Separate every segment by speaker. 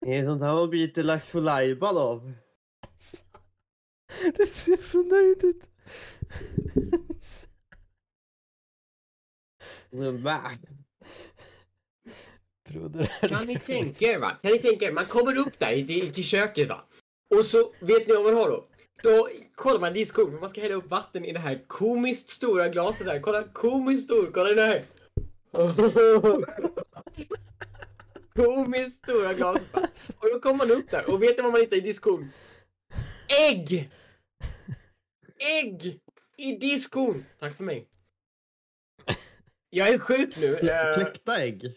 Speaker 1: Det är sånt här man blir lite lax för lajban av.
Speaker 2: Du ser så nöjd ut.
Speaker 1: Men va?
Speaker 2: Broder.
Speaker 3: Kan ni tänka er va? Kan ni tänka er? Man kommer upp där i, i, till köket va? Och så vet ni vad man har då? Då kollar man diskkoken, man ska hälla upp vatten i det här komiskt stora glaset här. Kolla, komiskt stor, kolla det här! komiskt stora glas. va? Och då kommer man upp där och vet ni vad man hittar i diskon? Ägg! Ägg! I diskon! Tack för mig. Jag är sjuk nu. eh,
Speaker 1: Kläckta ägg?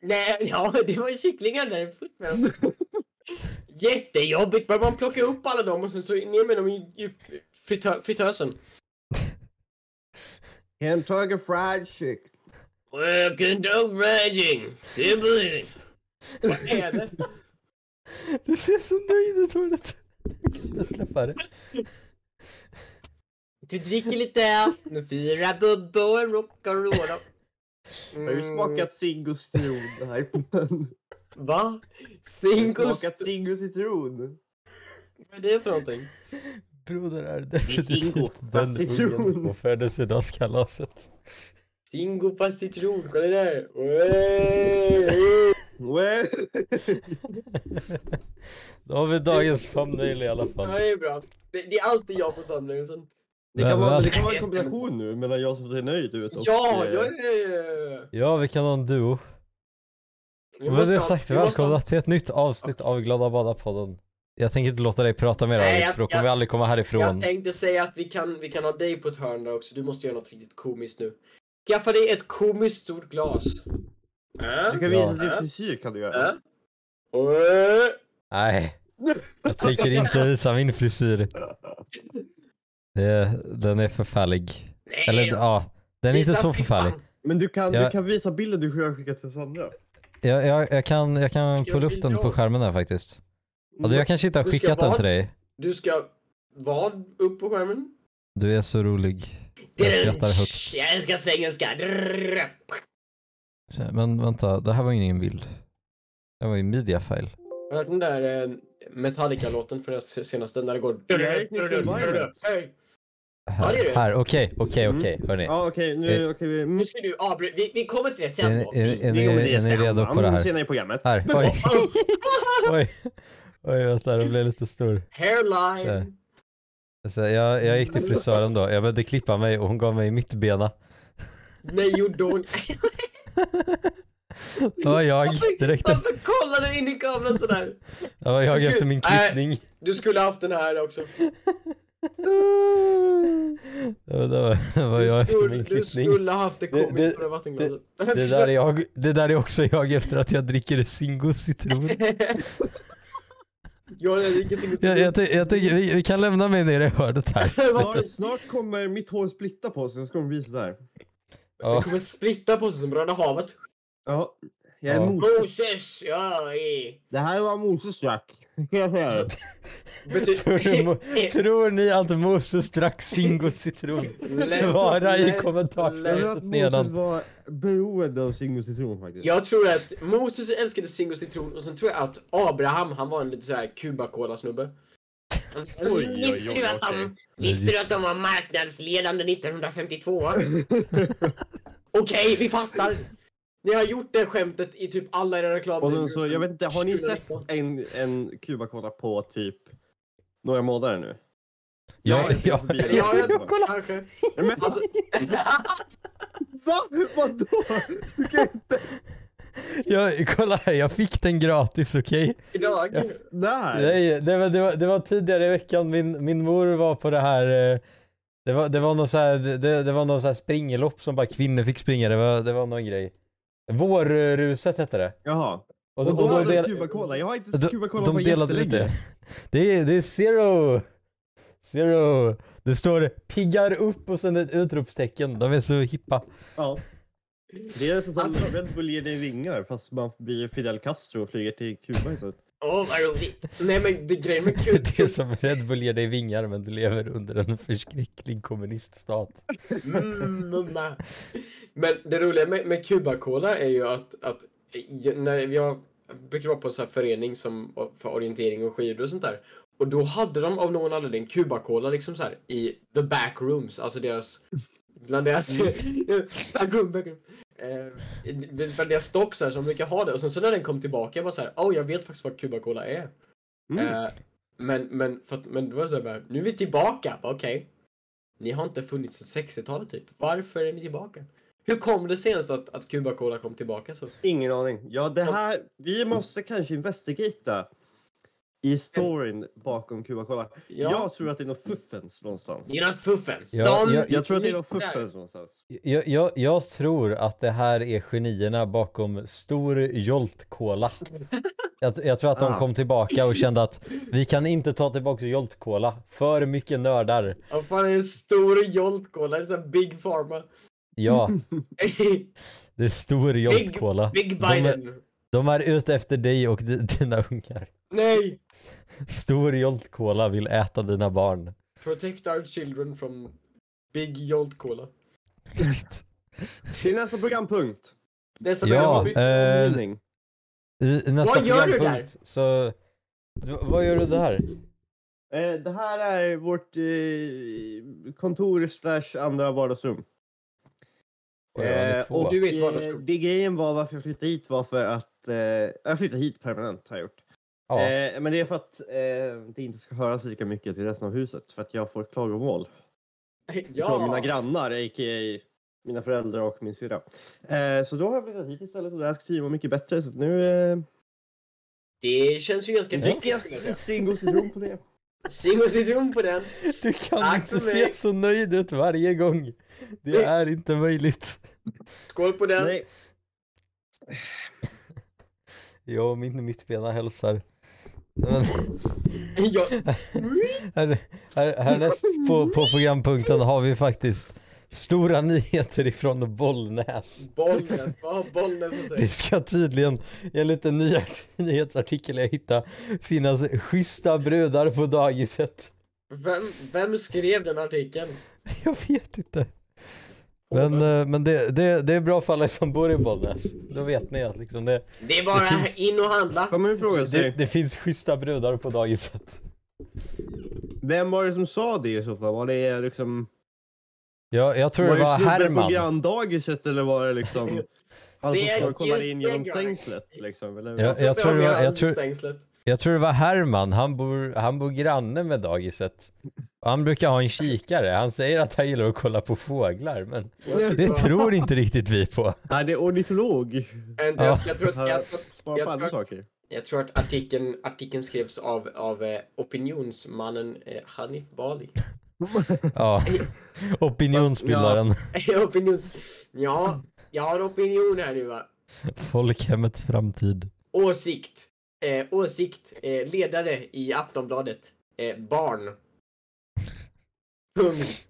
Speaker 3: Nej, ja, det var kycklingar där. fullt med dem. Jättejobbigt. Börjar man plocka upp alla dem och sen så ner med dem i, i fritö- fritösen.
Speaker 1: Kentucky fried chick.
Speaker 3: Welcome to raging. Det blir det. Vad är det?
Speaker 2: Du ser så nöjd ut Ordet. Jag kan inte släppa det.
Speaker 3: Du dricker lite. Nu fyra bubblor, rock'n'roll. Mm.
Speaker 1: Har du
Speaker 2: Mm.
Speaker 1: smakat zing och citron? här? Har
Speaker 3: Va?
Speaker 1: du
Speaker 3: Cinco...
Speaker 1: smakat zing och citron?
Speaker 3: Vad är det för någonting?
Speaker 2: Broder är
Speaker 1: Ingo.
Speaker 2: definitivt den
Speaker 1: Fast i
Speaker 2: ungen
Speaker 1: tron.
Speaker 2: på födelsedagskalaset.
Speaker 3: Cinco på citron, kolla där! Wey!
Speaker 1: Well.
Speaker 2: Då har vi dagens thumbnail i alla
Speaker 3: Ja,
Speaker 2: fall.
Speaker 3: det är bra. Det, det är alltid jag på liksom. thumbnailsen.
Speaker 1: Det kan vara det kan vara en
Speaker 3: Jag stämmer.
Speaker 1: kombination nu mellan jag som ser nöjd ut och...
Speaker 3: Ja,
Speaker 1: eh,
Speaker 3: jag är...
Speaker 2: Ja, vi kan ha en duo.
Speaker 3: Vi
Speaker 2: Med
Speaker 3: måste
Speaker 2: det
Speaker 3: ha-
Speaker 2: sagt,
Speaker 3: vi måste ha-
Speaker 2: välkomna till ett nytt avsnitt av Glada Bada-podden. Jag tänker inte låta dig prata mer
Speaker 3: Nej,
Speaker 2: Alex,
Speaker 3: jag-
Speaker 2: för då kommer vi
Speaker 3: jag-
Speaker 2: aldrig komma
Speaker 3: Jag
Speaker 2: härifrån.
Speaker 3: tänkte säga att vi kan, vi kan ha dig på ett hörn där också. Du måste göra något riktigt komiskt nu. Skaffa dig ett komiskt stort glas.
Speaker 1: Du
Speaker 3: Äh?
Speaker 1: kan
Speaker 2: Ja.
Speaker 1: visa din frisyr kan du göra.
Speaker 3: Äh? Äh?
Speaker 2: Nej, jag tänker inte visa min frisyr. Det, den är förfärlig.
Speaker 3: Nej,
Speaker 2: Eller ja, den är inte
Speaker 3: visa
Speaker 2: så
Speaker 3: fittan.
Speaker 2: förfärlig.
Speaker 1: Men du kan,
Speaker 2: Ja. Eh,
Speaker 1: du kan visa bilden du har skickat till Sandra.
Speaker 2: Jag, jag, jag kan, jag kan
Speaker 3: Jag
Speaker 2: pulla upp
Speaker 3: vill
Speaker 2: den på
Speaker 3: dra.
Speaker 2: skärmen här faktiskt. Alltså, jag kanske inte har
Speaker 3: Du ska
Speaker 2: skickat den
Speaker 3: vara-
Speaker 2: till dig.
Speaker 3: Du ska vad upp på skärmen?
Speaker 2: Du är så rolig. Jag skrattar högt.
Speaker 3: Jag älskar svengelska. Drrrr.
Speaker 2: Så- Men vänta, det här var ingen bild. Det var ju mediafile.
Speaker 3: Har du hört den där eh, Metallica-låten från den senaste? När det går...
Speaker 1: Jag gick ner till Violent.
Speaker 3: Hej. Ja, det är
Speaker 2: Här,
Speaker 3: det.
Speaker 2: här, okej, okej,
Speaker 1: Mm.
Speaker 2: okej, hörni.
Speaker 1: Ja okej, nu okej. vi- mm.
Speaker 3: Nu ska du avbryta. Vi, vi kommer till det sen då.
Speaker 2: Är, är, är,
Speaker 1: Vi
Speaker 2: eh, ni,
Speaker 1: gör det
Speaker 2: är ni
Speaker 1: sen,
Speaker 2: redo
Speaker 1: va?
Speaker 2: på det här?
Speaker 1: Senare i programmet.
Speaker 2: Här, oj. oj. Oj, vänta, den blev lite stor.
Speaker 3: Hairline.
Speaker 2: Så. Alltså, jag, jag gick till frisören då, jag behövde klippa mig och hon gav mig mitt bena.
Speaker 3: Nej, gjorde hon...
Speaker 2: Det var jag
Speaker 3: Varför-
Speaker 2: direkt efter,
Speaker 3: Varför kollar du alltså, in i kameran sådär?
Speaker 2: det var jag efter min klippning.
Speaker 3: Du skulle haft den här också.
Speaker 2: Det var, det var, det var jag
Speaker 3: Du
Speaker 2: efter
Speaker 3: skulle,
Speaker 2: min
Speaker 3: du
Speaker 2: klippning.
Speaker 3: skulle haft det
Speaker 2: Det- det-
Speaker 3: komiskt stora vattenglaset.
Speaker 2: Det där, är jag, det där är också jag efter att jag dricker Zingo citron.
Speaker 3: Jag dricker sin
Speaker 2: Jag, jag, ty- jag tycker vi, vi kan lämna mig nere i hörnet här.
Speaker 1: Snart, snart kommer mitt hår splitta på sig, så kommer det bli sådär.
Speaker 2: Ja.
Speaker 3: Det kommer splitta på sig som Röda havet.
Speaker 1: Ja, jag är
Speaker 2: Ja.
Speaker 1: Moses.
Speaker 3: Moses! Ja, i.
Speaker 1: Det här var Moses Jack. Kan jag säga det?
Speaker 3: typ-
Speaker 2: Tror, du, Mo- tror ni att Moses drack Zingo citron? Svara i
Speaker 1: Jag tror att
Speaker 2: kommentarsfältet
Speaker 1: Moses
Speaker 2: nedan.
Speaker 1: var beroende av Zingo citron faktiskt.
Speaker 3: Jag tror att Moses älskade Zingo citron och sen tror jag att Abraham, han var en lite såhär Cuba-Cola-snubbe.
Speaker 1: oj, oj,
Speaker 3: de- visste du att de var marknadsledande 1952? Okej, vi fattar. Ni har gjort det skämtet i typ alla era
Speaker 1: Och
Speaker 3: reklamvideor.
Speaker 1: sen så, jag vet inte, har ni sett en, en kubakola på typ några månader nu?
Speaker 2: Ja,
Speaker 1: Jag-
Speaker 2: ja.
Speaker 1: jag-
Speaker 3: Ja, jag,
Speaker 1: Coca-Cola.
Speaker 3: kanske.
Speaker 1: Nej, Men
Speaker 3: Alltså,
Speaker 1: va? Vadå? Du kan inte...
Speaker 2: Jag, kolla här, jag fick den gratis okej?
Speaker 3: idag.
Speaker 1: Nej.
Speaker 2: Nej, det var, det, var, det var tidigare i veckan, min, min mor var på det här eh, det var, det var någon så här, det, det var någon så här springelopp som bara kvinnor fick springa, det var, det var någon grej. Vårruset hette det.
Speaker 1: Jaha.
Speaker 2: Och,
Speaker 1: Och då
Speaker 2: och
Speaker 1: var
Speaker 2: de,
Speaker 1: det
Speaker 2: del,
Speaker 1: kubakola. Jag har inte
Speaker 2: de,
Speaker 1: sett kubakola på
Speaker 2: de delade ut
Speaker 1: jättelänge.
Speaker 2: det. Det är, det är zero! Zero! Det står piggar upp och sen ett utropstecken. De är så hippa.
Speaker 1: Ja. Det är som
Speaker 3: Alltså-
Speaker 1: Red Bull ger dig vingar fast man blir Fidel Castro och flyger till Kuba istället.
Speaker 3: Åh, vad roligt. Nej, men det grejen med Cuba...
Speaker 2: Det är som Red Bull ger dig vingar men du lever under en förskräcklig kommuniststat.
Speaker 3: Mm, mamma. Men det roliga med, med Cuba-Cola är ju att, att i- när jag brukar vara på en sån här förening som, för orientering och skidor och sånt där. Och då hade de av någon anledning Cubacola liksom så här i the back rooms, alltså deras... Bland deras... back room, back room. Eh, bland deras stock så här, som brukar ha det. Och sen så när den kom tillbaka, jag bara så här, oh jag vet faktiskt vad Cubacola är.
Speaker 1: Mm.
Speaker 3: Eh, men, men, för att, men då var det så här, bara, nu är vi tillbaka. Bara, Okej. Ni har inte funnits sedan 60-talet typ. Varför är ni tillbaka? Hur kom det senast att, att Cuba Cola kom tillbaka så?
Speaker 1: Ingen aning. Ja, det här, vi måste kanske investigata i storyn bakom Cuba Cola.
Speaker 3: Ja.
Speaker 1: Jag tror att det är något fuffens någonstans.
Speaker 3: Det är något fuffens.
Speaker 2: Ja,
Speaker 3: De
Speaker 2: jag-
Speaker 1: Jag tror att det är något
Speaker 3: gick där.
Speaker 1: fuffens någonstans.
Speaker 2: Jag, jag, jag tror att det här är genierna bakom Stor Jolt Cola. Jag, jag tror att de
Speaker 1: Ah.
Speaker 2: kom tillbaka och kände att vi kan inte ta tillbaka Jolt Cola. För mycket nördar.
Speaker 3: Vad fan är en stor Jolt Cola? Det är sån Big Pharma.
Speaker 2: Ja, det är Stor Jolt
Speaker 3: Big-
Speaker 2: Cola.
Speaker 3: Big
Speaker 2: De är-
Speaker 3: Biden.
Speaker 2: De är ute efter dig och di- dina ungar.
Speaker 3: Nej!
Speaker 2: Stor Jolt Cola vill äta dina barn.
Speaker 3: Protect our children from Big Jolt Cola.
Speaker 1: Till nästa programpunkt.
Speaker 3: Nästa
Speaker 2: ja,
Speaker 3: program-
Speaker 2: eh,
Speaker 1: Mening.
Speaker 2: i, i nästa
Speaker 3: Vad gör du
Speaker 2: programpunkt så... D- Vad gör du där?
Speaker 1: Eh, det här är vårt eh, kontor slash andra vardagsrum.
Speaker 2: Oj, jag hade
Speaker 1: Eh,
Speaker 2: två.
Speaker 1: och
Speaker 3: Du vet
Speaker 1: eh,
Speaker 3: vardagsrum.
Speaker 1: det grejen var varför jag flyttade hit var för att eh, jag flyttade hit permanent har jag gjort.
Speaker 2: Ja,
Speaker 1: Eh, men det är för att eh, det inte ska höras lika mycket till resten av huset för att jag får klagomål
Speaker 2: eh.
Speaker 1: från mina grannar, a.k.a. mina föräldrar och min syrra. Eh, så då har jag flyttat hit istället och det här ska tydligen vara mycket bättre så att nu eh,
Speaker 3: Det känns ju ganska
Speaker 2: Ja.
Speaker 1: dricker jag Singo citron på det.
Speaker 3: Singo citron på den.
Speaker 2: Du kan
Speaker 3: tack
Speaker 2: inte
Speaker 3: för
Speaker 2: se
Speaker 3: mig.
Speaker 2: så nöjd ut varje gång. Det
Speaker 3: Nej.
Speaker 2: är inte möjligt.
Speaker 3: Skål på den.
Speaker 1: Nej,
Speaker 2: Jag och min mittbena hälsar. Men,
Speaker 3: Jag,
Speaker 2: här, här, härnäst på, på programpunkten har vi faktiskt stora nyheter ifrån Bollnäs.
Speaker 3: Bollnäs, vad har Bollnäs att
Speaker 2: Det
Speaker 3: säga?
Speaker 2: ska tydligen, enligt en ny nyhetsartikel jag hittade, finnas schyssta brudar på dagiset.
Speaker 3: Vem, vem skrev den artikeln?
Speaker 2: Jag vet inte. Men, eh, men det, det, det är bra för alla som bor i Bollnäs. Då vet ni att liksom det,
Speaker 3: Det är bara
Speaker 2: det finns-
Speaker 3: in och handla.
Speaker 1: kommer en fråga till
Speaker 2: det,
Speaker 1: dig.
Speaker 2: det finns schyssta brudar på dagiset.
Speaker 1: Vem var det som sa det i så fall? Var det liksom...
Speaker 2: Ja, jag tror det var
Speaker 1: snubben på
Speaker 2: Herman.
Speaker 1: granndagiset eller var det liksom... Han som
Speaker 3: Det är
Speaker 1: står och kollar
Speaker 3: just
Speaker 1: in
Speaker 3: det,
Speaker 1: genom
Speaker 3: Göran.
Speaker 1: sängslet liksom? Eller?
Speaker 2: Ja, jag tror det var- jag tror-
Speaker 3: Stängslet.
Speaker 2: Jag tror det var Herman. Han bor, han bor granne med dagiset. Och Han brukar ha en kikare. Han säger att han gillar att kolla på fåglar, men det tror inte riktigt vi på.
Speaker 1: Alltså, Nej, det är ornitolog.
Speaker 3: Jag,
Speaker 2: Ja.
Speaker 3: jag, uh, jag, tror att,
Speaker 1: Han
Speaker 3: jag, tror att-
Speaker 1: sparar på
Speaker 3: jag
Speaker 1: andra
Speaker 3: tror-
Speaker 1: saker.
Speaker 3: jag tror att artikeln, artikeln skrevs av, av eh, opinionsmannen eh, Hanif Bali.
Speaker 2: Ja, opinionsbildaren.
Speaker 3: Opinions... Ja, jag har opinion här nu va.
Speaker 2: Folkhemmets framtid.
Speaker 3: Åsikt. Eh, åsikt. Eh, ledare i Aftonbladet. Eh, barn. Punkt.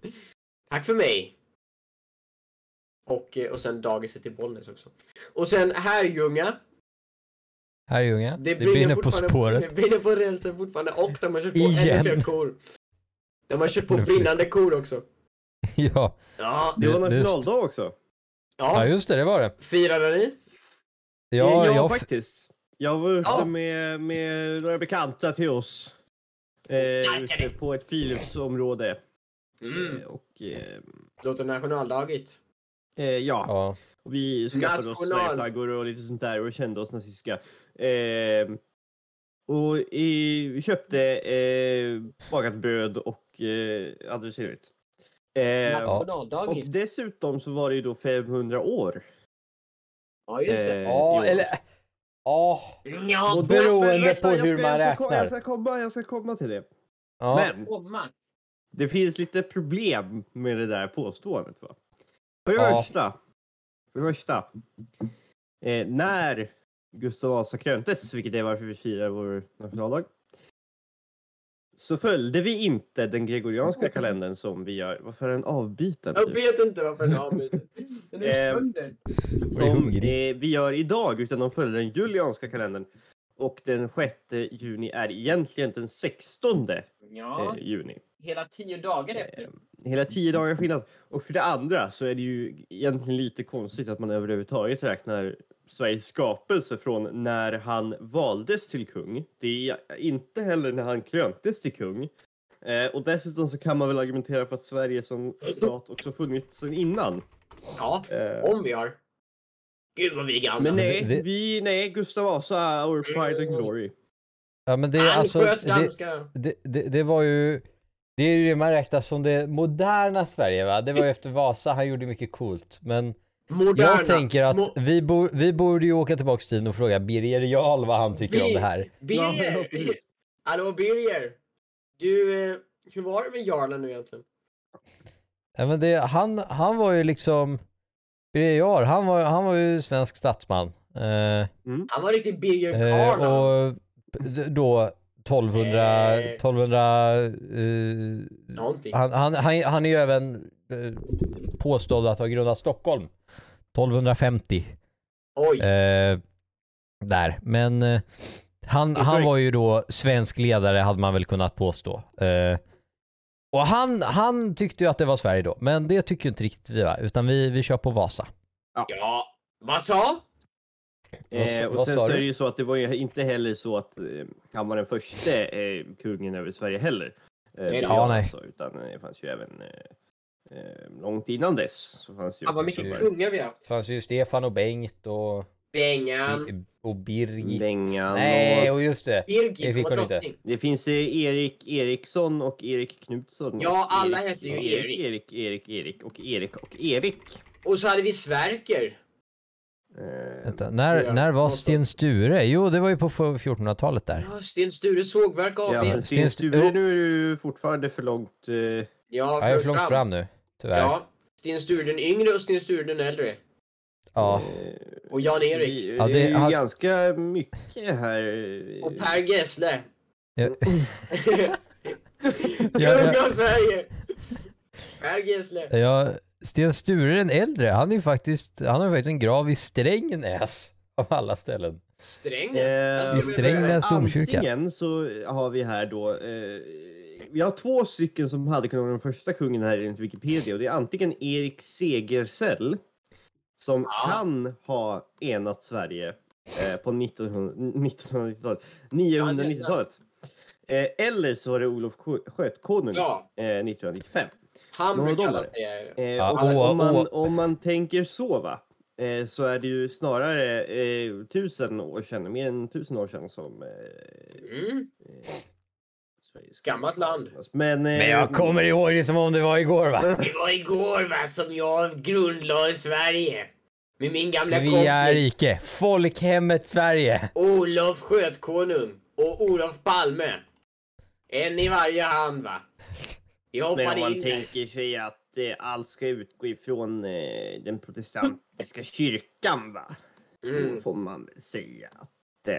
Speaker 3: Tack för mig. Och, eh, och sen dagiset i Bollnäs också. Och sen Herrljunga.
Speaker 2: Herrljunga, det, brinner på
Speaker 3: fortfarande-
Speaker 2: spåret.
Speaker 3: Det brinner på rälsen fortfarande och de har kört på
Speaker 2: Igen.
Speaker 3: ännu fler kor. De har kört på
Speaker 2: Ännu fler.
Speaker 3: brinnande kor också.
Speaker 2: Ja.
Speaker 3: Ja,
Speaker 1: Det var
Speaker 2: Det- det är st-
Speaker 1: nationaldag också.
Speaker 2: ja,
Speaker 3: ja.
Speaker 2: just det, det var det.
Speaker 3: Firade ni?
Speaker 2: Ja,
Speaker 1: jag,
Speaker 2: jag, f-
Speaker 1: faktiskt. Jag var ute
Speaker 3: Ja.
Speaker 1: med, med några bekanta till oss. Eh,
Speaker 3: Knarkade.
Speaker 1: ute på ett friluftsområde.
Speaker 3: Mm.
Speaker 1: Eh, Och, eh,
Speaker 3: Låter nationaldagigt.
Speaker 1: eh, ja.
Speaker 2: ja.
Speaker 1: Och Vi skaffade oss
Speaker 3: National.
Speaker 1: Sverigeflaggor och lite sånt där och kände oss nazistiska. Eh, och i, vi köpte eh, bakat bröd och eh, hade det trevligt. Eh, och
Speaker 3: Nationaldagigt.
Speaker 1: dessutom så var det ju då 500 år.
Speaker 3: Ja, just det.
Speaker 1: eh, i
Speaker 2: Ja,
Speaker 1: år.
Speaker 2: eller... Ja,
Speaker 3: eh, Ja,
Speaker 2: Och beroende
Speaker 1: Men vänta,
Speaker 2: på
Speaker 1: jag
Speaker 2: hur
Speaker 1: ska-
Speaker 2: man
Speaker 1: jag ska,
Speaker 2: räknar.
Speaker 1: Jag ska, komma, jag ska komma till det.
Speaker 2: ja.
Speaker 1: Men
Speaker 3: komma.
Speaker 1: det finns lite problem med det där påståendet. Va? För det
Speaker 2: Ja.
Speaker 1: första, för det första eh, när Gustav Vasa kröntes, vilket är varför vi firar vår nationaldag, så följde vi inte den gregorianska kalendern som vi gör. Varför är den avbytaren?
Speaker 3: Jag
Speaker 1: Typ?
Speaker 3: vet inte varför den avbryter. Den är
Speaker 1: Ehm,
Speaker 3: sönder.
Speaker 2: Jag är
Speaker 1: Som eh,
Speaker 2: hungrig.
Speaker 1: vi gör idag, utan de följde den julianska kalendern. Och den 6 juni är egentligen den 16
Speaker 3: Ja,
Speaker 1: eh, juni.
Speaker 3: hela tio
Speaker 2: Eh.
Speaker 3: dagar efter.
Speaker 1: Hela tio dagar skillnad. Och för det andra så är det ju egentligen lite konstigt att man överhuvudtaget räknar Sveriges skapelse från när han valdes till kung. Det är inte heller när han kröntes till kung. Eh, och dessutom så kan man väl argumentera för att Sverige som stat också funnits sedan innan.
Speaker 3: Ja,
Speaker 1: Eh,
Speaker 3: om vi har. Gud vad vi är gamla.
Speaker 1: men nej,
Speaker 2: Det- det-
Speaker 1: vi, nej, Gustav Vasa, our pride and glory.
Speaker 2: Ja men det är
Speaker 3: Han
Speaker 2: alltså,
Speaker 3: sköt
Speaker 2: det,
Speaker 3: danskar.
Speaker 2: det, det, det var ju, det är ju det man räknar som det moderna Sverige va? Det var ju efter Vasa, han gjorde mycket coolt. Men
Speaker 3: Moderna.
Speaker 2: jag tänker
Speaker 3: Mo-
Speaker 2: att vi, bo, vi borde ju åka tillbaka till tiden och fråga Birger Jarl vad han tycker om det här.
Speaker 1: Ja,
Speaker 3: Birger!
Speaker 1: precis.
Speaker 3: Hallå Birger! Du, eh, hur var det med Jarlen nu egentligen?
Speaker 2: Ja, men det, han, han var ju liksom, Birger Jarl, han var, han var ju svensk statsman. Eh,
Speaker 3: Han var riktigt Birger
Speaker 2: Eh,
Speaker 3: Karl. han.
Speaker 2: och d- då 1200,
Speaker 3: Eh.
Speaker 2: 1200 eh,
Speaker 3: Någonting.
Speaker 2: han, han, han, han är ju även eh, påstådd att ha grundat Stockholm 1250
Speaker 3: Oj.
Speaker 2: eh, där men eh, han, han var ju då svensk ledare hade man väl kunnat påstå eh, och han, han tyckte ju att det var Sverige då men det tycker ju inte riktigt vi va utan vi, vi kör på Vasa
Speaker 3: Ja, vad sa?
Speaker 2: Vad sa-
Speaker 1: Eh, och
Speaker 2: vad
Speaker 1: sen
Speaker 2: sa
Speaker 1: så är
Speaker 2: du?
Speaker 1: det ju så att det var ju inte heller så att eh, han var den första eh, kungen över Sverige heller. Eh,
Speaker 3: Nej då.
Speaker 1: Birger
Speaker 2: Ja, nej.
Speaker 1: alltså, utan eh, det fanns ju även eh, eh, långt innan dess. Så fanns ju
Speaker 3: Han var
Speaker 1: också
Speaker 3: mycket
Speaker 1: så här
Speaker 3: kungar vi har haft.
Speaker 2: det fanns ju Stefan och Bengt och,
Speaker 3: Bengan,
Speaker 2: och Birgit
Speaker 1: Bengan
Speaker 2: Nej,
Speaker 1: och...
Speaker 2: och just det.
Speaker 3: Birgit,
Speaker 2: det
Speaker 3: hon
Speaker 2: fick
Speaker 3: var
Speaker 2: hon inte.
Speaker 3: drottning.
Speaker 1: Det finns eh, Erik Eriksson och Erik Knutsson.
Speaker 3: Ja,
Speaker 1: och
Speaker 3: alla
Speaker 1: Erik-
Speaker 3: heter ju
Speaker 1: ja,
Speaker 3: Erik.
Speaker 1: Erik, Erik, Erik och Erik och Erik.
Speaker 3: Och så hade vi Sverker.
Speaker 1: Eh,
Speaker 2: Vänta, när,
Speaker 3: Ja,
Speaker 2: när var
Speaker 3: någonstans.
Speaker 2: Sten Sture? Jo, det var ju på 1400-talet där.
Speaker 3: Ja, Sten Sture sågverk AB.
Speaker 1: ja, men
Speaker 2: Sten
Speaker 1: Sten
Speaker 2: Stu-
Speaker 1: Sture, nu är du fortfarande för långt. Eh,
Speaker 3: Ja,
Speaker 2: Ja, jag är för långt fram nu, tyvärr. Ja.
Speaker 3: Ja, Sten Sture den yngre och Sten Sture den äldre.
Speaker 1: eh,
Speaker 3: Och Jan-Erik.
Speaker 1: Vi,
Speaker 2: Ja,
Speaker 1: det,
Speaker 2: det-
Speaker 1: är ju
Speaker 2: han-
Speaker 1: ganska mycket här. eh,
Speaker 3: Och Per Gessle.
Speaker 2: Jag,
Speaker 3: Kung av Sverige! Per Gessle.
Speaker 2: jag, Sten Sture den äldre, han är ju faktiskt, han har ju faktiskt en grav i Strängnäs. Av alla ställen.
Speaker 3: Strängnäs.
Speaker 1: Eh,
Speaker 2: I
Speaker 3: Alltså, det var-
Speaker 2: Strängnäs domkyrka.
Speaker 1: Antingen så har vi här då. Eh, vi har två stycken som hade kunnat vara den första kungen här enligt Wikipedia och det är antingen Erik Segersäll som
Speaker 3: Ja.
Speaker 1: kan ha enat Sverige eh, på 1900 1990-talet, 990-talet. Eh, eller så var det Olof Ko- Skötkonung
Speaker 3: Ja,
Speaker 1: eh, 1995.
Speaker 3: han
Speaker 1: Några
Speaker 3: brukar alla
Speaker 1: dollar.
Speaker 3: säga.
Speaker 1: Eh,
Speaker 2: Ja,
Speaker 1: och
Speaker 2: åh,
Speaker 1: om, man,
Speaker 2: åh.
Speaker 1: om man tänker så va, eh, så är det ju snarare eh, tusen år sedan, mer än tusen år sedan som eh,
Speaker 3: Mm.
Speaker 1: Sveriges
Speaker 3: Gammalt land.
Speaker 1: Men, eh,
Speaker 2: Men jag kommer ihåg det som om det var igår va?
Speaker 3: Det var igår va, som jag grundlade Sverige. Med min gamla
Speaker 2: Svea
Speaker 3: kompis
Speaker 2: rike, folkhemmet Sverige.
Speaker 3: Olof Skötkonung och Olof Palme. En i varje hand va. Jag
Speaker 1: Men om
Speaker 3: hoppade
Speaker 1: man
Speaker 3: in där.
Speaker 1: tänker sig att eh, allt ska utgå ifrån eh, den protestantiska kyrkan va, då
Speaker 3: Mm.
Speaker 1: får man väl säga att eh,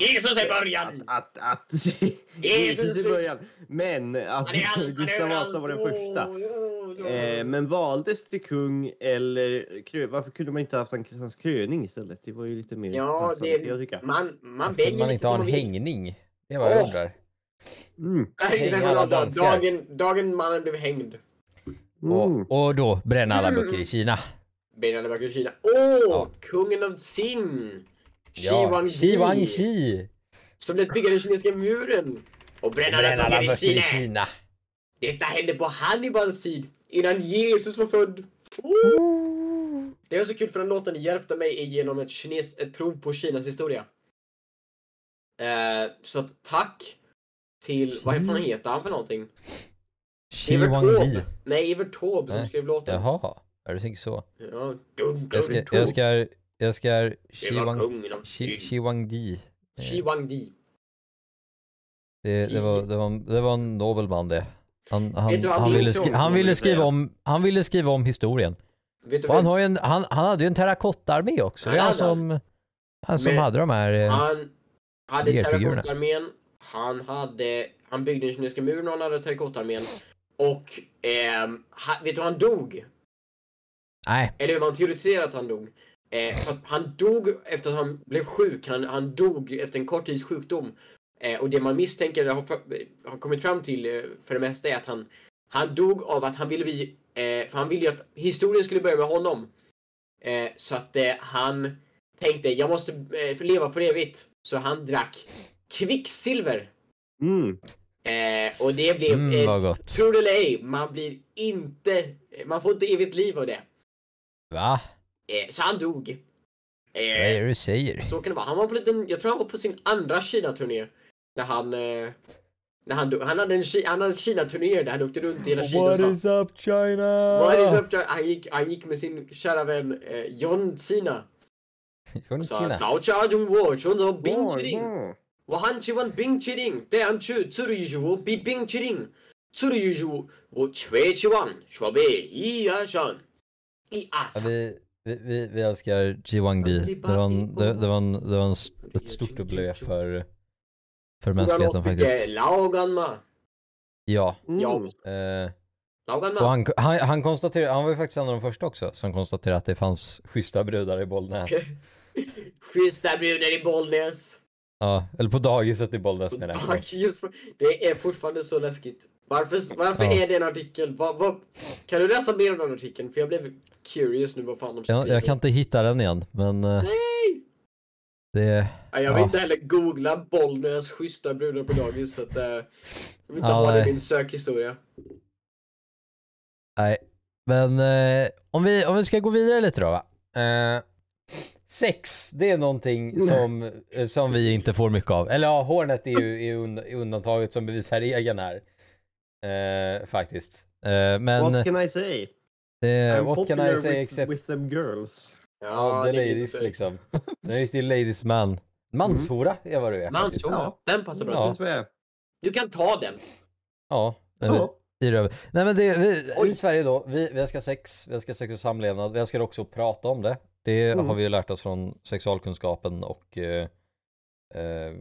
Speaker 3: Jesus är
Speaker 1: att,
Speaker 3: början!
Speaker 1: att, att Jesus i början. Men att
Speaker 3: Han är all- han är
Speaker 1: Gustav Vasa var den
Speaker 3: överallt.
Speaker 1: första.
Speaker 3: Åh, åh, åh.
Speaker 1: Eh, men valdes till kung eller krö... Varför kunde man inte haft en- hans kröning istället? Det var ju lite mer
Speaker 3: Ja,
Speaker 1: passande,
Speaker 3: det
Speaker 1: kan jag tycka.
Speaker 3: Man, man
Speaker 2: Kunde
Speaker 3: väljer
Speaker 2: man
Speaker 3: lite
Speaker 2: inte ha en
Speaker 3: som man vill.
Speaker 2: hängning? Det var jag
Speaker 3: Åh.
Speaker 2: undrar.
Speaker 1: Mm.
Speaker 3: Nej,
Speaker 2: Hänga
Speaker 3: det
Speaker 2: alla
Speaker 3: var dagen-
Speaker 2: danskar.
Speaker 3: Dagen, dagen mannen blev hängd.
Speaker 1: Mm.
Speaker 2: Och, och då bränna
Speaker 3: Mm.
Speaker 2: alla böcker i Kina.
Speaker 3: Benjamin var i Kina. Åh!
Speaker 2: Ja.
Speaker 3: Kungen av Qin!
Speaker 2: Ja. Xi Wang Xi.
Speaker 3: Som lät bygga den kinesiska muren. Och bränna
Speaker 2: Bränna alla
Speaker 3: alla
Speaker 2: böcker i
Speaker 3: Kina.
Speaker 2: Kina.
Speaker 3: Detta hände på Hannibals tid. Innan Jesus var född. Det var så kul för den låten hjälpte mig igenom ett, kines, ett prov på Kinas historia. Eh, så att tack till, vad fan heter han för någonting?
Speaker 2: Xi
Speaker 3: Evert
Speaker 2: Wang Li.
Speaker 3: Taube. Nej, Evert Taube som
Speaker 2: Nej,
Speaker 3: skrev låten.
Speaker 2: Jaha, ja, du tänker så.
Speaker 3: Ja, dum,
Speaker 2: Jag ska, jag ska, jag ska,
Speaker 3: Det var
Speaker 2: Xiwang,
Speaker 3: kungen av Qin.
Speaker 2: Xiwangdi.
Speaker 3: Xi Wang Di.
Speaker 2: Det, det, var, det, var, en- det var en nobel man det. Han,
Speaker 3: Vet
Speaker 2: han,
Speaker 3: du vad
Speaker 2: han,
Speaker 3: min
Speaker 2: ville skri,
Speaker 1: kung
Speaker 2: han, ville
Speaker 1: ville
Speaker 2: skriva
Speaker 1: säga?
Speaker 2: om, han ville skriva om historien.
Speaker 3: Vet du
Speaker 2: Och han,
Speaker 3: vem?
Speaker 2: har ju en, han, han hade ju en terrakottarmé också. Det är
Speaker 3: Han
Speaker 2: han
Speaker 3: hade
Speaker 2: som, han som
Speaker 3: Men-
Speaker 2: hade de här... eh,
Speaker 3: Han hade
Speaker 2: Lerfigurerna.
Speaker 3: terrakottarmén. Han hade... Han byggde den kinesiska muren och han hade terrakottarmén. Och ehm, ha, vet du hur han dog?
Speaker 2: Nej,
Speaker 3: Eller hur man teoretiserar att han dog. Eh, för att han dog efter att han blev sjuk. Han, han dog efter en kort tids sjukdom. Eh, och det man misstänker, eller har, för, eh, har kommit fram till eh, för det mesta är att han, han dog av att han ville bli, eh, för han ville ju att historien skulle börja med honom. Eh, så att eh, han tänkte, jag måste eh, få leva för evigt. Så han drack kvicksilver.
Speaker 1: Mm.
Speaker 3: Eh, och det blev
Speaker 2: Mm,
Speaker 3: eh,
Speaker 2: vad gott.
Speaker 3: Tror det eller ej, man blir inte... Man får inte evigt liv av det.
Speaker 2: Va?
Speaker 3: Eh, så han dog.
Speaker 2: Vad är
Speaker 3: Eh,
Speaker 2: det du säger?
Speaker 3: så kan det vara. Han var på liten, jag tror han var på sin andra Kina-turné. När han... Eh, när han, dog. han hade en, Ki- han hade en Kina-turné där han åkte runt i hela Kina och
Speaker 2: What
Speaker 3: sa
Speaker 2: is up China?
Speaker 3: What is up? China?" Han gick, han gick med sin kära vän eh, John Cena.
Speaker 2: Från
Speaker 3: Och
Speaker 2: Kina.
Speaker 3: sa Sao Cha Jung Wo, Chun Zo Bing
Speaker 1: Ja,
Speaker 3: Chiring.
Speaker 1: ja.
Speaker 3: 我很喜欢冰淇淋，但吃吃了一束比冰淇淋，吃了一束我却希望说被一二三，一二
Speaker 2: Ja,
Speaker 3: 三。
Speaker 2: vi, vi, vi, vi älskar Ji Wang Di. Det var, en, det, det var, en, det var en, s- ett stort W för, för mänskligheten faktiskt.
Speaker 3: 老干妈，
Speaker 2: Ja.
Speaker 1: Mm.
Speaker 3: Ja.
Speaker 2: Eh,
Speaker 3: 老干
Speaker 2: och
Speaker 3: 妈，
Speaker 2: han, han, han, konstaterade, han var ju faktiskt en av de första också som konstaterade att det fanns schyssta brudar i Bollnäs.
Speaker 3: schyssta brudar i Bollnäs.
Speaker 2: Ja, eller på dagiset i Bollnäs menar jag.
Speaker 3: Tack, just för- Det är fortfarande så läskigt. Varför, varför
Speaker 2: Ja.
Speaker 3: är det en artikel? Vad- vad- kan du läsa mer om den artikeln? För jag blev curious nu vad fan de
Speaker 2: Jag, jag kan inte hitta den igen men eh,
Speaker 3: Nej!
Speaker 2: det...
Speaker 3: Ja, jag vill
Speaker 2: Ja.
Speaker 3: inte heller googla Bollnäs schyssta brudar på dagis så att eh, jag vill inte
Speaker 2: Ja,
Speaker 3: ha det i
Speaker 2: nej.
Speaker 3: min sökhistoria.
Speaker 2: Nej. Men eh, om, vi, om vi ska gå vidare lite då va. Eh, sex, det är någonting som, eh, som vi inte får mycket av. Eller ja, Hornet är ju är und- är undantaget som bevisar regeln här. Eh, faktiskt. Eh, men
Speaker 1: What
Speaker 2: what,
Speaker 1: can I say?
Speaker 2: eh,
Speaker 1: I'm
Speaker 2: what can
Speaker 1: popular
Speaker 2: I say
Speaker 1: with,
Speaker 2: except
Speaker 1: with them girls.
Speaker 2: ja, the
Speaker 3: det är
Speaker 2: ladies
Speaker 3: lite-
Speaker 2: liksom. Du är en riktig ladies man. Manshora är vad du är.
Speaker 3: Man,
Speaker 2: faktiskt.
Speaker 3: ja, den passar bra.
Speaker 2: Ja.
Speaker 1: Precis vad jag är.
Speaker 3: Du kan ta den.
Speaker 2: Ja. eller-
Speaker 1: Ja.
Speaker 2: I röven. Nej men det, vi,
Speaker 3: Oj.
Speaker 2: i Sverige då, vi, vi älskar sex, vi älskar sex och samlevnad, vi älskar också att prata om det. Det
Speaker 1: Mm.
Speaker 2: har vi ju lärt oss från sexualkunskapen och eh, eh,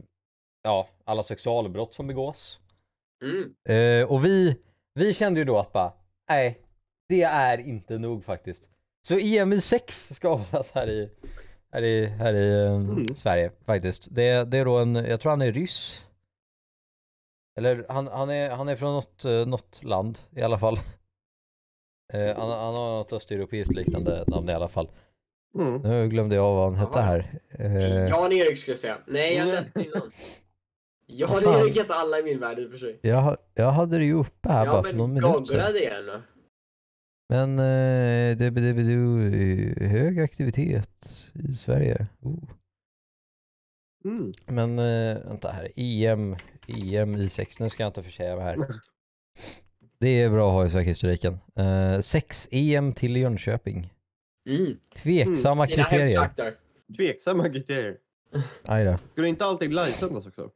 Speaker 2: ja, alla sexualbrott som begås.
Speaker 3: Mm.
Speaker 2: Eh, och vi, vi kände ju då att bara, nej, det är inte nog faktiskt. Så EM i sex ska hållas här i, här i, här i eh,
Speaker 1: Mm.
Speaker 2: Sverige faktiskt. Det, det är då en, jag tror han är ryss. Eller han, han, är, han är från något, eh, något land i alla fall. Eh, han, han har något östeuropeiskt liknande namn i alla fall.
Speaker 1: Mm.
Speaker 2: Nu glömde jag vad han hette här. Eh,
Speaker 3: Jan-Erik skulle jag säga. Nej, jag
Speaker 1: Mm.
Speaker 3: läste innan. Jan-Erik heter alla i min värld i och för sig.
Speaker 2: jag, ha- jag hade det ju uppe här
Speaker 3: Ja,
Speaker 2: bara för någon
Speaker 3: men
Speaker 2: minut sedan.
Speaker 3: googla det igen.
Speaker 2: Men eh, det, det, det, det, hög aktivitet i Sverige. Oh.
Speaker 1: Mm.
Speaker 2: Men eh, vänta här, EM, EM i sex, nu ska jag inte försäga mig här. Det är bra att ha i sökhistoriken. Eh, sex EM till Jönköping.
Speaker 3: Mm.
Speaker 2: Tveksamma
Speaker 3: Mina
Speaker 2: kriterier.
Speaker 3: hemtrakter.
Speaker 1: Tveksamma kriterier.
Speaker 2: Aj då.
Speaker 1: Skulle inte allting livesändas också?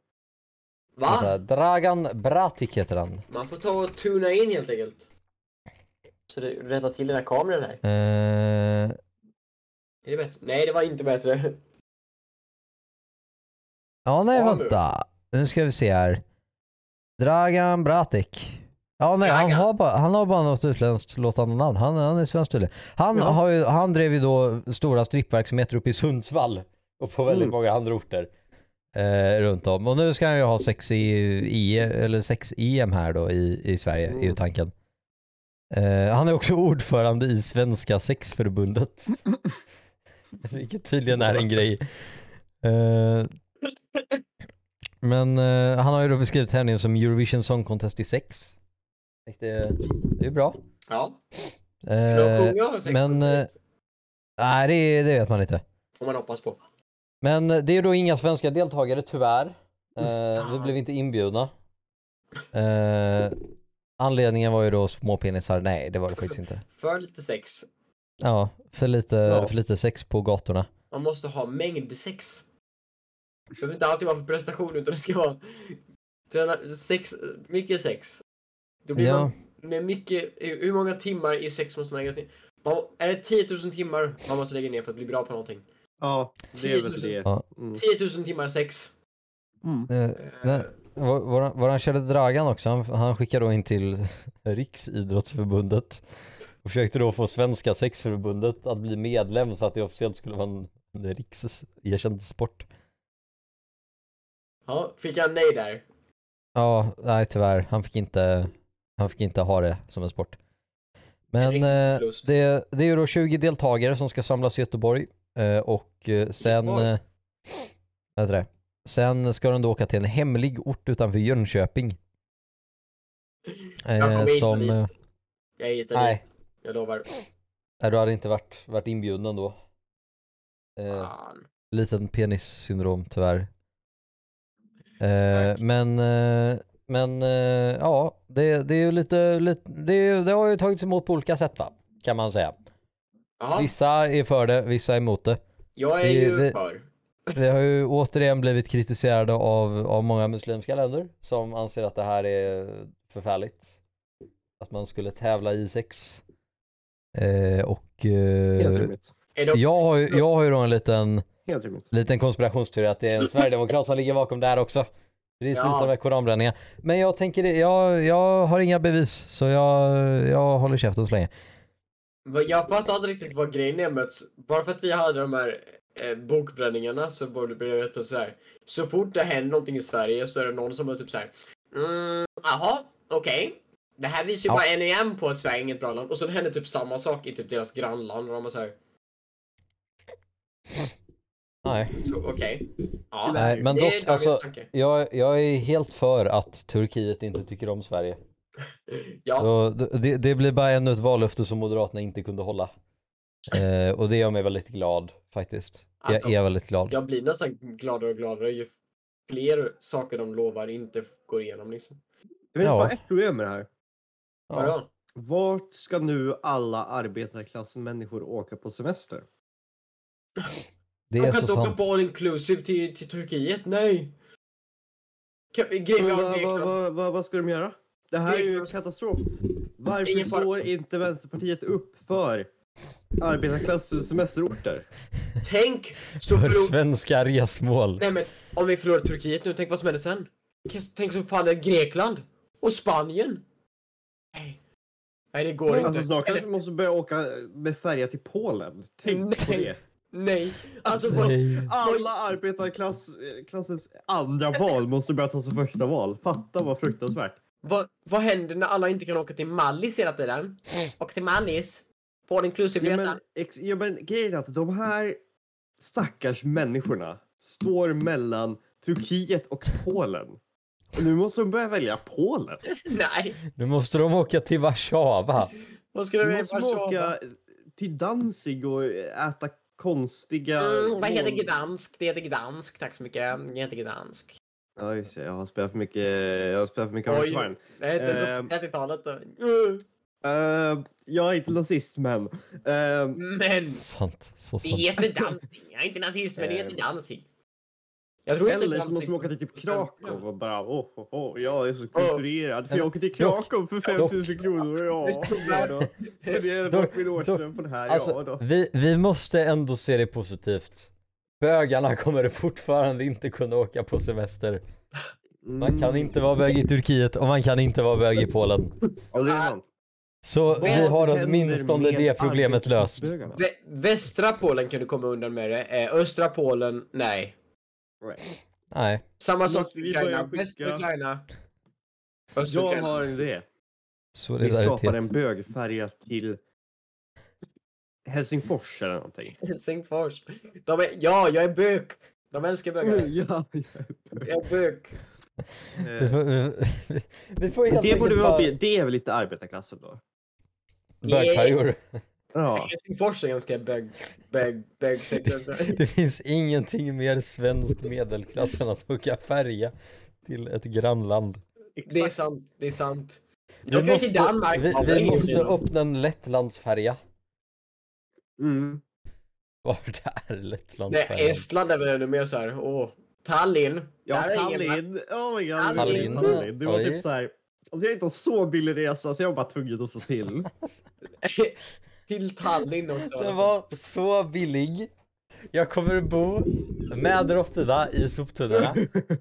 Speaker 3: Va?
Speaker 2: Vänta, Dragan Bratic heter han.
Speaker 3: Man får ta och tuna in helt enkelt. Så du rättar till den här kameran här.
Speaker 2: Eh,
Speaker 3: Är det bättre? Nej, det var inte bättre.
Speaker 2: ja, nej
Speaker 3: Ja, nu.
Speaker 2: vänta. Nu ska vi se här. Dragan Bratic. Ja, nej, han
Speaker 3: Dragan.
Speaker 2: har, bara, han har bara något utländskt låtande namn. Han, han är svensk tydligen. Han,
Speaker 1: Ja.
Speaker 2: har ju, han drev ju då stora strippverksamheter uppe i Sundsvall och på väldigt
Speaker 1: Mm.
Speaker 2: många andra orter eh, runt om. Och nu ska han ju ha sex, i, i, eller sex EM här då i, i Sverige,
Speaker 1: Mm.
Speaker 2: är ju tanken. Eh, han är också ordförande i Svenska sexförbundet. Vilket tydligen är en grej. Eh, men eh, han har ju då beskrivit tävlingen som Eurovision Song Contest i sex. Vilket är- Det är bra.
Speaker 3: Ja.
Speaker 2: Eh,
Speaker 3: Skulle de sjunga sex
Speaker 2: men,
Speaker 3: minuter?
Speaker 2: eh, nej, det, det vet man inte.
Speaker 3: Får man hoppas på.
Speaker 2: Men det är då inga svenska deltagare tyvärr. Eh, vi blev inte inbjudna. Eh, anledningen var ju då småpenisar. Nej, det var det faktiskt inte.
Speaker 3: För lite sex.
Speaker 2: Ja, för lite,
Speaker 1: Ja.
Speaker 2: För lite sex på gatorna.
Speaker 3: Man måste ha mängd sex. Det behöver inte alltid vara för prestation utan det ska vara träna sex, mycket sex. Då blir
Speaker 2: Ja.
Speaker 3: man med mycket, hur hur många timmar i sex måste man lägga till? Man, är det 10 000 timmar man måste lägga ner för att bli bra på någonting?
Speaker 1: Ja, det är väl det.
Speaker 2: Ja.
Speaker 1: Mm.
Speaker 3: 10 000 timmar sex.
Speaker 1: Mm.
Speaker 2: Eh,
Speaker 3: Eh,
Speaker 2: nej, vår, våran- våran körde Dragan också, han, han skickade då in till Riksidrottsförbundet Och försökte då få Svenska sexförbundet att bli medlem så att det officiellt skulle vara en, en rikserkänd sport.
Speaker 3: Ja, fick jag nej där?
Speaker 2: Ja, nej tyvärr. Han fick inte, han fick inte ha det som en sport. Men
Speaker 3: riktig
Speaker 2: eh,
Speaker 3: förlust.
Speaker 2: det, det är ju då 20 deltagare som ska samlas i Göteborg eh, och eh, sen,
Speaker 3: Göteborg?
Speaker 2: eh, vad heter det? sen ska de då åka till en hemlig ort utanför Jönköping.
Speaker 3: Jag
Speaker 2: Eh,
Speaker 3: kommer inte
Speaker 2: som, eh,
Speaker 3: dit. Jag är inte
Speaker 2: nej, Eh,
Speaker 3: dit, jag lovar.
Speaker 2: nej, du hade inte varit, varit inbjuden då. Eh,
Speaker 3: Fan.
Speaker 2: liten penissyndrom tyvärr. Eh, men eh, men eh, ja, det, det är ju lite, lite det, är ju- det har ju tagits emot på olika sätt va? Kan man säga.
Speaker 3: Ja,
Speaker 2: Vissa är för det, vissa är emot det.
Speaker 3: jag är
Speaker 2: det-
Speaker 3: ju
Speaker 2: det-
Speaker 3: för.
Speaker 2: Vi har ju återigen blivit kritiserade av, av många muslimska länder som anser att det här är förfärligt. Att man skulle tävla i sex. Eh, och
Speaker 1: Helt
Speaker 2: eh,
Speaker 1: rimligt.
Speaker 3: Är de...
Speaker 2: jag, har ju, jag har ju då en liten,
Speaker 1: Helt rimligt.
Speaker 2: liten konspirationsteori att det är en sverigedemokrat som ligger bakom det här också. Precis
Speaker 3: Ja.
Speaker 2: som med koranbränningar. Men jag tänker, det- jag, jag har inga bevis så jag, jag håller käften så länge.
Speaker 3: Vad- Jag fattar inte riktigt vad grejen är med att s- bara för att vi hade de här eh, bokbränningarna så borde det bli rätt på så här. Så fort det händer någonting i Sverige så är det någon som har typ så här. Mm, aha, okej. Det här visar ju
Speaker 2: Ja.
Speaker 3: bara än igen på att Sverige är inget bra land. Och så händer typ samma sak i typ deras grannland och de bara så här.
Speaker 2: Nej.
Speaker 3: Så, okej. Ja,
Speaker 2: Nej, men
Speaker 3: det
Speaker 2: dock,
Speaker 3: är dagens
Speaker 2: alltså-
Speaker 3: tanke.
Speaker 2: Jag, jag är helt för att Turkiet inte tycker om Sverige.
Speaker 3: Ja,
Speaker 2: Så det, det blir bara ännu ett vallöfte som Moderaterna inte kunde hålla. Eh, och det gör mig väldigt glad faktiskt.
Speaker 3: Alltså,
Speaker 2: jag är väldigt glad.
Speaker 3: jag blir nästan gladare och gladare ju fler saker de lovar inte går igenom liksom.
Speaker 1: Jag vet
Speaker 2: Ja.
Speaker 1: bara ett problem med det här.
Speaker 2: ja.
Speaker 3: Vadå?
Speaker 1: Vart ska nu alla arbetarklassmänniskor åka på semester?
Speaker 3: De
Speaker 2: Det är
Speaker 3: kan
Speaker 2: så
Speaker 3: inte åka
Speaker 2: sant.
Speaker 3: på all inclusive till, till Turkiet, nej! Kan,
Speaker 1: Vad
Speaker 3: grejen med
Speaker 1: vad- vad-
Speaker 3: Grekland,
Speaker 1: vad- vad- vad ska de göra? Det här är ju en katastrof. Varför
Speaker 3: Ingen fara.
Speaker 1: står inte Vänsterpartiet upp för arbetarklassens semesterorter?
Speaker 3: tänk så
Speaker 2: För
Speaker 3: förlor...
Speaker 2: svenska resmål.
Speaker 3: Nej men, om vi förlorar Turkiet nu, tänk vad som händer sen? Tänk- Tänk så faller Grekland! Och Spanien! Nej. Nej, det går inte.
Speaker 1: Alltså snart kanske
Speaker 3: Eller,
Speaker 1: vi måste börja åka med färja till Polen. Tänk på
Speaker 3: Nej.
Speaker 1: det.
Speaker 3: nej. Alltså, vad-
Speaker 2: Nej.
Speaker 1: Alla arbetarklassens andra val måste börja ta som första val. Fatta vad fruktansvärt.
Speaker 3: vad, vad händer när alla inte kan åka till Mallis hela tiden? Åka till Mallis? På all inclusive
Speaker 1: Mm. Ja
Speaker 3: resan?
Speaker 1: men, ex- ja, men grejen är att de här stackars människorna står mellan Turkiet och Polen. Och nu måste de börja välja Polen.
Speaker 3: Nej!
Speaker 2: Nu måste de åka till Warszawa.
Speaker 3: Vad ska
Speaker 1: Nu
Speaker 3: du
Speaker 1: måste de åka till Danzig och äta konstiga...
Speaker 3: Mm, vad heter
Speaker 1: mål-
Speaker 3: Gdansk? Det heter Gdansk, tack så mycket. Det heter Gdansk.
Speaker 1: Ja, just det. Jag har spelat för mycket... Jag har spelat för mycket
Speaker 3: Oj.
Speaker 1: Hardsvine.
Speaker 3: Nej, det är
Speaker 1: Ehm.
Speaker 3: så 30-talet då. Mm.
Speaker 1: Uh, jag är inte nazist, men... ehm,
Speaker 3: Men!
Speaker 2: Sant. Så
Speaker 3: Det
Speaker 2: sant.
Speaker 3: heter Danzig. Jag är inte nazist, men det heter
Speaker 1: Ehm.
Speaker 3: Danzig. Jag tror inte
Speaker 1: Eller så måste
Speaker 3: Danzig-
Speaker 1: man åka till typ Krakow och bara åh, oh, oh, jag är så
Speaker 3: Ja.
Speaker 1: kulturerad för jag åker till
Speaker 2: Dock-
Speaker 1: Krakow för
Speaker 2: dock-
Speaker 1: 5000 kronor. Ja, ja då. Spenderade
Speaker 2: Dock-
Speaker 1: bort min årslön på det här. ja,
Speaker 2: Alltså,
Speaker 1: då.
Speaker 2: vi, vi måste ändå se det positivt. Bögarna kommer fortfarande inte kunna åka på semester. Man kan
Speaker 1: Mm.
Speaker 2: inte vara bög i Turkiet och man kan inte vara bög i Polen.
Speaker 1: Ja, det är sant.
Speaker 2: Så vi
Speaker 3: Ah, Vad
Speaker 2: har
Speaker 1: händer
Speaker 2: åtminstone
Speaker 1: med
Speaker 2: det problemet löst.
Speaker 1: arbetarklassbögarna?
Speaker 3: Vä västra Polen kan du komma undan med det. Eh, östra Polen, nej.
Speaker 1: Right.
Speaker 2: Nej.
Speaker 3: Samma sak
Speaker 1: Måste
Speaker 3: med
Speaker 1: vi
Speaker 3: Ukraina.
Speaker 1: börja
Speaker 3: Västra
Speaker 1: skicka-
Speaker 3: Ukraina.
Speaker 1: Jag
Speaker 3: Östukraina.
Speaker 1: har en idé. Vi skapar en
Speaker 2: Solidaritet.
Speaker 1: bögfärja till Helsingfors eller någonting.
Speaker 3: Helsingfors. De är, ja, jag är bök. De älskar bögar.
Speaker 1: Ja, ja.
Speaker 3: Jag är bök.
Speaker 2: Vi får, vi, vi- vi får helt
Speaker 1: Eh, Det borde
Speaker 2: enkelt
Speaker 1: väl
Speaker 2: bara
Speaker 1: bli, det är väl lite arbetarklassen då?
Speaker 2: bögfärjor.
Speaker 1: Ja.
Speaker 3: Helsingfors är ganska bög, bög, bög
Speaker 2: Det finns ingenting mer svensk medelklass än att åka färja till ett grannland.
Speaker 3: Det är sant, det är sant.
Speaker 2: Vi
Speaker 3: Jag kan till
Speaker 2: måste,
Speaker 3: Danmark.
Speaker 2: vi,
Speaker 3: Ja, det är
Speaker 2: vi
Speaker 3: ingen
Speaker 2: måste
Speaker 3: skillnad.
Speaker 2: öppna en Lettlandsfärja.
Speaker 1: Mm.
Speaker 2: Vart är
Speaker 3: Nej,
Speaker 2: Lettlandsfärjan?
Speaker 3: Estland är väl ännu mer såhär, åh. Tallinn.
Speaker 1: Ja,
Speaker 3: Där är ingen-
Speaker 1: Tallinn. Oh my god.
Speaker 3: Tallinn.
Speaker 1: Tallinn. Tallinn. Det var
Speaker 2: Oj.
Speaker 1: typ så här. Alltså jag är inte en så billig resa så jag var bara tvungen att stå till.
Speaker 3: Till Tallinn också.
Speaker 2: Den var så billig. Jag kommer bo med råttorna i soptunnorna.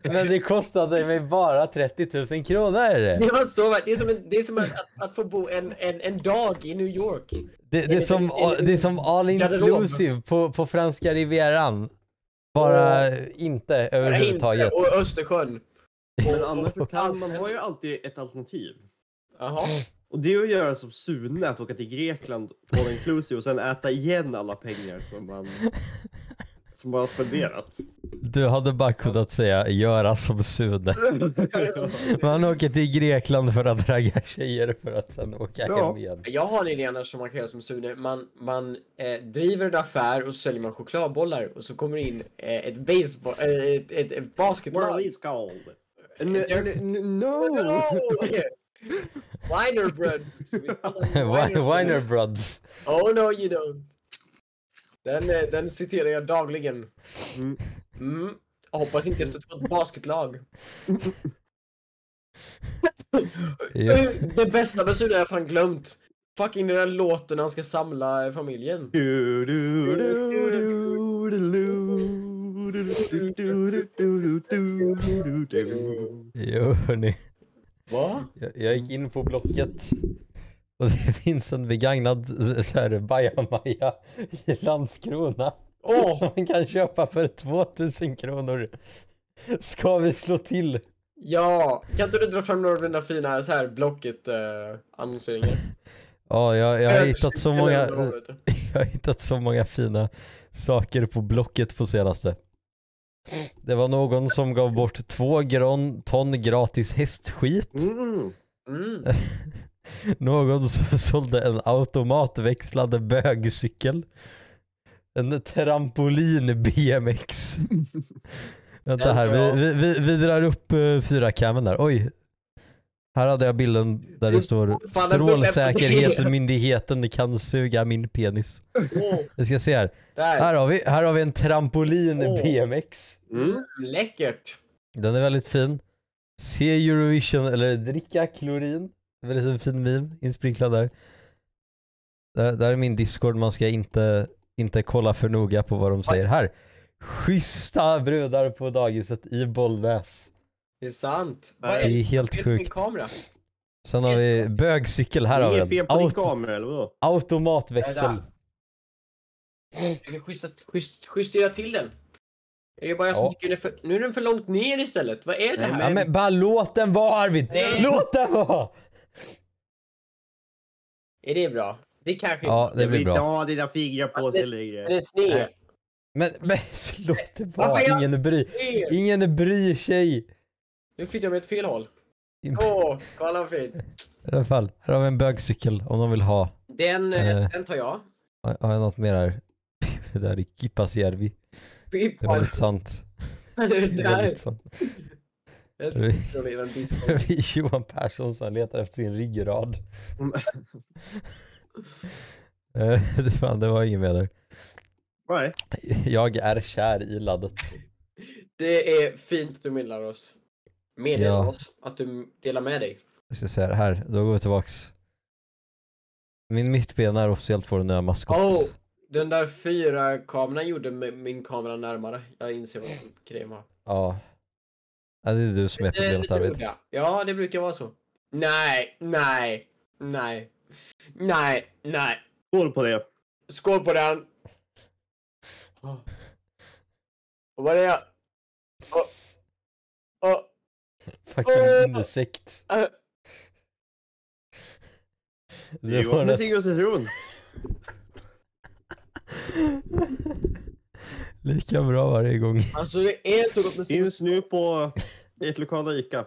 Speaker 2: Men det kostade mig bara 30 000 kronor.
Speaker 3: Det var så värt. Det är som, en, det är som att, att, att få bo en, en, en dag i New York.
Speaker 2: Det, det, är, som, det är som all inclusive på, på franska rivieran. Bara inte
Speaker 3: Bara inte.
Speaker 2: överhuvudtaget.
Speaker 3: Och Östersjön.
Speaker 1: Men annars så kan man har ju alltid ett alternativ.
Speaker 3: Jaha.
Speaker 1: Och det är att göra som Sune, att åka till Grekland all inclusive och sen äta igen alla pengar som man, som man har spenderat.
Speaker 2: Du hade bara kunnat säga göra som Sune. Man åker till Grekland för att ragga tjejer för att sen åka
Speaker 1: Ja.
Speaker 2: hem igen.
Speaker 3: Jag har en idé annars som man kan göra som Sune. Man, man eh, driver en affär och så säljer man chokladbollar och så kommer det in eh, ett baseball... Eh, ett, ett, ett
Speaker 1: What
Speaker 3: basketlag.
Speaker 1: is called? N- n- n-
Speaker 3: Oh!
Speaker 1: no!
Speaker 3: Winer breads.
Speaker 2: Winer Brothers.
Speaker 3: Oh no you don't. Den, eh, den citerar jag dagligen.
Speaker 1: Mm.
Speaker 3: Mm. Jag hoppas inte jag stöter på ett basketlag.
Speaker 2: Ja.
Speaker 3: Eh, Det bästa med Sune har jag fan glömt. Fucking den där låten när han ska samla eh, familjen.
Speaker 1: Du- du- du- du- du- du- du- du- du- du- du- du- du.
Speaker 2: Jo hörni.
Speaker 3: Va?
Speaker 2: Jag, jag gick in på Blocket och det finns en begagnad s- så här bajamaja i Landskrona.
Speaker 3: Åh!
Speaker 2: Som man kan köpa för 2000 kronor. Ska vi slå till?
Speaker 3: Ja! Kan inte du dra fram några av dina fina så här blocket eh, annonseringar?
Speaker 2: Ja, jag, jag har
Speaker 3: Eller-
Speaker 2: hittat så
Speaker 3: eller
Speaker 2: många,
Speaker 3: vad det heter.
Speaker 2: jag har hittat så många fina saker på Blocket på senaste. Det var någon som gav bort två gran, ton gratis hästskit.
Speaker 1: Mm.
Speaker 3: Mm.
Speaker 2: Någon som sålde en automatväxlande bögcykel. En trampolin BMX. Vänta
Speaker 3: Den
Speaker 2: här,
Speaker 3: tar jag.
Speaker 2: vi, vi, vi, vi drar upp uh, fyra kammen där. Oj. Här hade jag bilden där det
Speaker 3: Det
Speaker 2: står
Speaker 3: fan en bild
Speaker 2: Strålsäkerhetsmyndigheten kan suga min penis.
Speaker 3: Åh,
Speaker 2: Vi ska se här.
Speaker 3: där.
Speaker 2: Här har vi, här har vi en trampolin
Speaker 3: Åh.
Speaker 2: BMX.
Speaker 1: Mm.
Speaker 3: Läckert.
Speaker 2: Den är väldigt fin. Se Eurovision eller dricka klorin. Väldigt en fin meme insprinklad där. där. Där är min Discord, man ska inte, inte kolla för noga på vad de säger. Här! Schyssta brudar på dagiset i Bollnäs.
Speaker 3: Det är sant.
Speaker 1: Nej.
Speaker 3: Vad
Speaker 2: Det
Speaker 3: är
Speaker 2: är
Speaker 3: det
Speaker 2: helt
Speaker 3: fel på min
Speaker 2: sjukt.
Speaker 3: kamera?
Speaker 2: Sen har vi bögcykel, här har
Speaker 1: Det
Speaker 2: vi
Speaker 1: är fel
Speaker 2: den.
Speaker 1: på din
Speaker 2: Aut-
Speaker 1: kamera eller vadå?
Speaker 2: automatväxel.
Speaker 3: Jag vill justa, just, justera till den. Är det bara jag som
Speaker 2: Ja.
Speaker 3: tycker den är för... Nu är den för långt ner istället. Vad är det
Speaker 1: Nej,
Speaker 3: här?
Speaker 2: Ja, men bara låt den vara Arvid!
Speaker 3: Nej.
Speaker 2: Låt den vara!
Speaker 3: Är det bra? Det kanske
Speaker 2: Ja, det blir bra.
Speaker 1: Ja, dina fingrar på
Speaker 3: Fast
Speaker 1: sig
Speaker 3: det-
Speaker 1: längre.
Speaker 3: Den är sned.
Speaker 2: Men, men så låt det vara,
Speaker 3: Varför är jag-
Speaker 2: ingen bryr,
Speaker 3: Sned.
Speaker 2: ingen bryr sig.
Speaker 3: Nu flyttar jag mig åt fel håll.
Speaker 2: I
Speaker 3: Åh, kolla vad fint.
Speaker 2: alla fall, här har vi en bögcykel om de vill ha.
Speaker 3: Den, eh,
Speaker 2: Eh.
Speaker 3: den tar jag.
Speaker 2: Har har jag något mer här? Det där är Kipasjärvi.
Speaker 3: Fy
Speaker 2: Det är
Speaker 3: fan.
Speaker 2: väldigt sant. Det
Speaker 3: Det
Speaker 2: är
Speaker 3: där.
Speaker 2: väldigt sant.
Speaker 3: Jag
Speaker 2: Det är-
Speaker 3: sitter i en disco.
Speaker 2: Det är Johan Persson som letar efter sin ryggrad.
Speaker 1: Mm.
Speaker 2: Eh, det, fan, det var inget mer där.
Speaker 1: Nej.
Speaker 2: Jag är kär i laddet.
Speaker 3: Det är fint att du meddelar oss. Meddelar
Speaker 2: Ja.
Speaker 3: oss att du delar med dig.
Speaker 2: Jag ska säga det här, då går vi tillbaks. Min mittben är officiellt vår nya maskot.
Speaker 3: Oh, den där fyra kameran gjorde mi- min kamera närmare. Jag inser vad som krävs här.
Speaker 2: Ja. Ja, Det är du som är
Speaker 3: Det är
Speaker 2: problemet
Speaker 3: Eh, lite
Speaker 2: Arvid.
Speaker 3: udda. Ja, det brukar vara så. Nej, nej, nej, nej, nej.
Speaker 1: Skål på det.
Speaker 3: Skål på den! Åh. Och vad är det jag... Åh,
Speaker 2: Fucking insekt.
Speaker 3: äh,
Speaker 2: Det var
Speaker 1: Jo, med
Speaker 2: nästan-
Speaker 1: cigg och citron.
Speaker 2: Lika bra varje gång.
Speaker 3: Alltså det är så gott med
Speaker 1: Finns nu på ert lokala Ica.